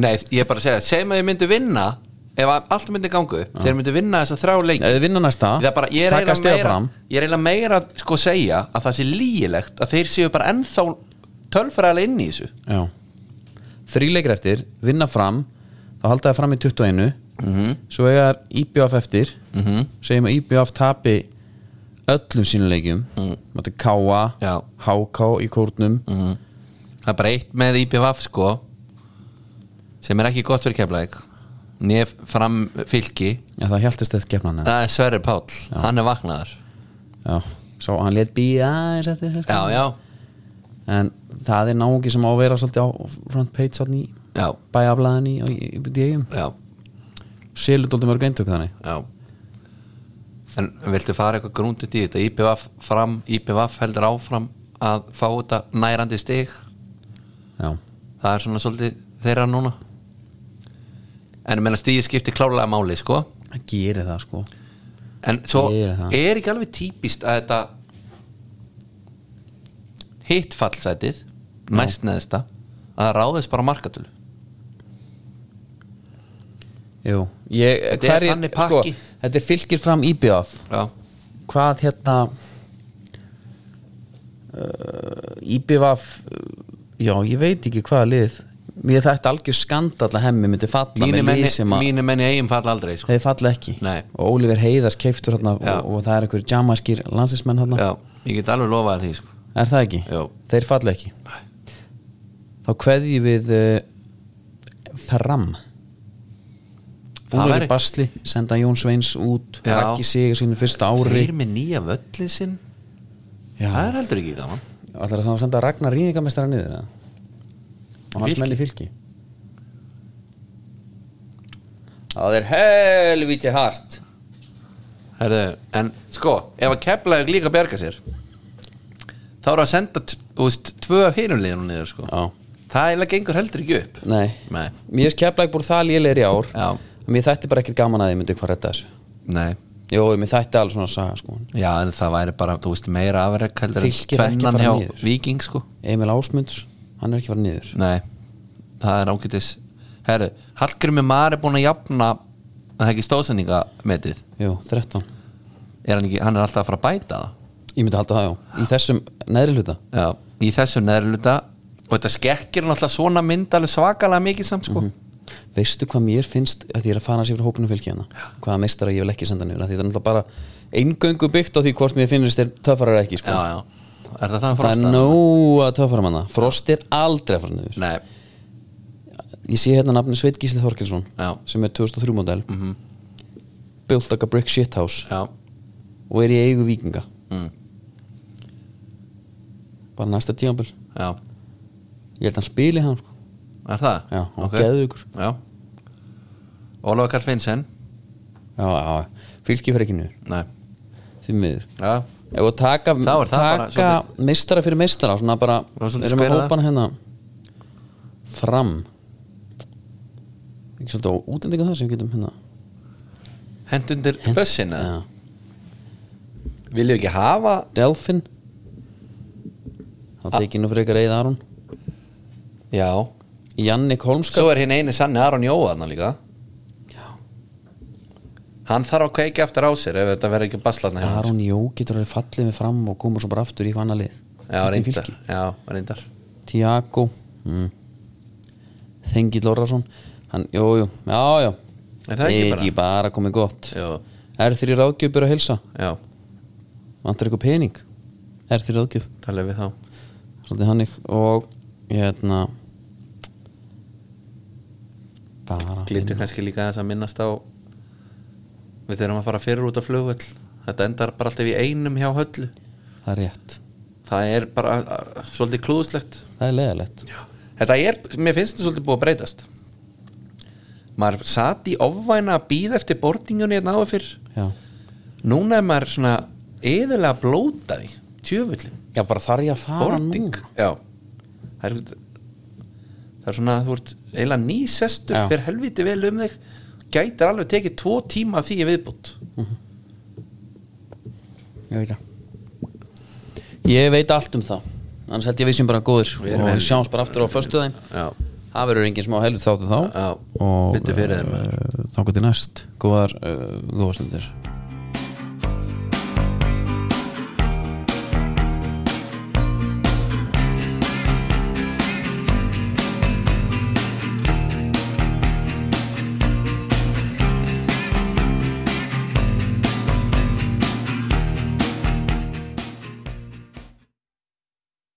Speaker 2: Nei, ég er bara að segja, segjum að þið myndu vinna ef að allt myndi gangu, þeir myndu vinna þess að þrá leiki
Speaker 1: eða vinna næsta
Speaker 2: Það er bara, ég er
Speaker 1: taka
Speaker 2: eiginlega
Speaker 1: stiga
Speaker 2: meira
Speaker 1: fram
Speaker 2: Ég er eiginlega meira að sko segja að það sé lígilegt að þeir séu bara ennþá tölfræðilega inn í þessu
Speaker 1: já þríleikir eftir, vinna fram þá halda það fram í 21
Speaker 2: Mhm.
Speaker 1: svo eiga þar IBF eftir segjum að IBF tapi öllum sínuleikjum mm -hmm. Káa,
Speaker 2: Já. Mm.
Speaker 1: HK í kórnum
Speaker 2: það er bara eitt með IPVF sko sem er ekki gott fyrir keflæk nef fram fylki
Speaker 1: Já, það hjæltist þetta gefnan
Speaker 2: það er Sverri Páll, hann er vaknaður
Speaker 1: Já, svo hann let býja aðeins eftir hér
Speaker 2: já, já,
Speaker 1: en það er náungi sem á að vera svolítið á front page svolítið í
Speaker 2: já,
Speaker 1: bæjaflaðan í, í, í, í eigum
Speaker 2: já,
Speaker 1: selur dóldi mörg eintök þannig
Speaker 2: já. en viltu fara eitthvað grúndið í þetta IPVF fram, IPVF heldur áfram að fá þetta nærandi stig
Speaker 1: já,
Speaker 2: það er svona svolítið þeirra núna en ég meina stíði skipti klálega máli sko
Speaker 1: það gerir það sko
Speaker 2: en svo
Speaker 1: Gerir það.
Speaker 2: er ekki alveg típist að þetta hitt fallsætið næst neðsta að það ráðist bara á markatölu
Speaker 1: Jú, ég,
Speaker 2: Þetta er
Speaker 1: hverjir- sko,
Speaker 2: þannig pakki.
Speaker 1: þetta er fylgir fram IBF
Speaker 2: já,
Speaker 1: hvað hérna uh, IBF já, ég veit ekki hvaða lið mér þetta algjör skandall að hemmi myndi falla
Speaker 2: mínu
Speaker 1: með
Speaker 2: menni,
Speaker 1: lið sem að
Speaker 2: mínu menni eigin falla aldrei sko.
Speaker 1: þeir falla ekki
Speaker 2: Nei.
Speaker 1: og Oliver Heiðars keiftur hérna og,
Speaker 2: Já.
Speaker 1: og það er einhverjir jamaskir landsinsmenn hérna
Speaker 2: já, ég get alveg lofað því sko.
Speaker 1: er það ekki?
Speaker 2: Jú.
Speaker 1: þeir falla ekki þá kveðjum við uh, fram
Speaker 2: Það
Speaker 1: búinur
Speaker 2: væri-
Speaker 1: í basli senda Jón Sveins út
Speaker 2: Já.
Speaker 1: ekki sigur sínu fyrsta ári
Speaker 2: þeir með nýja völlin sinn það
Speaker 1: Já.
Speaker 2: er heldur ekki gaman
Speaker 1: ætlar það að senda Ragnar Ríðingamestara niður eða? og hans
Speaker 2: Fylki.
Speaker 1: menn í fylki það er helvítið hart
Speaker 2: Herðu, en sko, ef að keflaðið líka bjarga sér þá eru að senda t- þú veist, tvö hinumliðinu niður sko.
Speaker 1: já,
Speaker 2: það eiginlega gengur heldur ekki upp
Speaker 1: nei
Speaker 2: nei,
Speaker 1: mér finnst keflæk búið það lélegir í ár
Speaker 2: Já.
Speaker 1: mér þætti bara ekkert gaman að þið myndi hvað redda þessu
Speaker 2: nei
Speaker 1: Jó, mér þætti alveg svona saga sko
Speaker 2: já, en það væri bara, þú veist, meira afrek heldur en
Speaker 1: Fylkir er ekki að
Speaker 2: tvennan
Speaker 1: fara
Speaker 2: hjá
Speaker 1: niður.
Speaker 2: Víking sko.
Speaker 1: Emil Ásmunds, hann er ekki farið niður
Speaker 2: nei, það er ágætis herru, Hallgrimmi Mar er búin að jafna að það ekki stóðsendingametið
Speaker 1: Jú, 13
Speaker 2: er hann ekki, hann er alltaf að fara að bæta það
Speaker 1: Ég myndi halda það, já Í þessum neðri hluta
Speaker 2: Já, í þessu neðurluta og þetta skekkir náttúrulega svona mynd alveg svakalega mikið samt sko
Speaker 1: Mhm. Veistu hvað mér finnst að því ég er að fara sér fyrir hópunum fylki hérna Hvaða meistara ég vil ekki senda niður af Því það er náttúrulega bara eingöngu byggt á því hvort mér finnst þeir töffarar eða ekki sko.
Speaker 2: Já, já, er það það
Speaker 1: Það er nóga töffarar manna Frost er aldrei að fara niður
Speaker 2: Nei,
Speaker 1: Ég sé hérna nafni Sveit Gísli Þorkelsson
Speaker 2: Já. Mhm.
Speaker 1: sem er 2003 model mm -hmm. Built like a brick shithouse
Speaker 2: já,
Speaker 1: og er í eigu vikinga
Speaker 2: mm,
Speaker 1: bara næsta tíambil
Speaker 2: já,
Speaker 1: Ég held að hann spili hann sko.
Speaker 2: er það?
Speaker 1: Já, og
Speaker 2: Ok.
Speaker 1: geðveikur.
Speaker 2: Já Ólafur Karl Finnsen
Speaker 1: Já, já, fylki fyrir ekki niður
Speaker 2: Nei,
Speaker 1: Því miður
Speaker 2: já,
Speaker 1: Ef að taka,
Speaker 2: Þá er það bara
Speaker 1: taka
Speaker 2: svolítið-
Speaker 1: meistara fyrir meistara svona bara,
Speaker 2: Það var svolítið
Speaker 1: erum við
Speaker 2: skverað.
Speaker 1: hópan hérna fram ekki svolítið á útendingu það sem við getum hérna
Speaker 2: hent undir bussina
Speaker 1: Já.
Speaker 2: Viljum við ekki hafa
Speaker 1: Delfin þá tekið nú frekar Eið Aron
Speaker 2: Já,
Speaker 1: Jannik Holmskar
Speaker 2: svo er hinn eini sanni Aron Jóðan líka
Speaker 1: Já.
Speaker 2: Hann þarf að kveiki aftur á sér ef þetta verður ekki baslatna
Speaker 1: Aron Jó getur alveg fallið með fram og komur svo bara aftur í hvaðan að lið
Speaker 2: Já,
Speaker 1: Hvernig
Speaker 2: reyndar,
Speaker 1: fylki?
Speaker 2: já, reyndar
Speaker 1: Tiago mm. Þengill Orrason hann, jú, jú, já, já
Speaker 2: Er það ekki bara?
Speaker 1: ekki bara komið gott
Speaker 2: Jú,
Speaker 1: Er þrý ráðgjöfur að hilsa?
Speaker 2: já,
Speaker 1: vantar eitthvað pening er því ráðgjöf,
Speaker 2: tala við þá
Speaker 1: svolítið hannig og hérna bara
Speaker 2: Glittir kannski líka aðeins að minnast á við þurfum að fara fyrir út á flugvöll þetta endar bara alltaf í einum hjá höllu
Speaker 1: það er rétt,
Speaker 2: það er bara uh, svolítið klúðslegt
Speaker 1: það er leðalegt
Speaker 2: þetta er, mér finnst þetta svolítið búið að breytast maður satt í ofvæna að býða eftir bortingunni hérna áður fyrr
Speaker 1: já.
Speaker 2: núna er maður svona eðurlega blótaði tjöfullin,
Speaker 1: já, bara þarf ég að fara
Speaker 2: borting
Speaker 1: Ah, nú
Speaker 2: já, það er það er svona að þú ert eiginlega nýsestur
Speaker 1: Já.
Speaker 2: fyrir helviti vel um þig gætir alveg tekið tvo tíma af því ég viðbútt
Speaker 1: ég veit það ég veit allt um það annars held ég að við sem bara góðir
Speaker 2: Við erum
Speaker 1: og við
Speaker 2: helvíti.
Speaker 1: sjáumst bara aftur á föstu þeim
Speaker 2: Já,
Speaker 1: það verður engin smá helvið þáttu þá
Speaker 2: já,
Speaker 1: og eh,
Speaker 2: byttu fyrir þeim
Speaker 1: uh, þá gott í næst góðar, uh, góðar stundir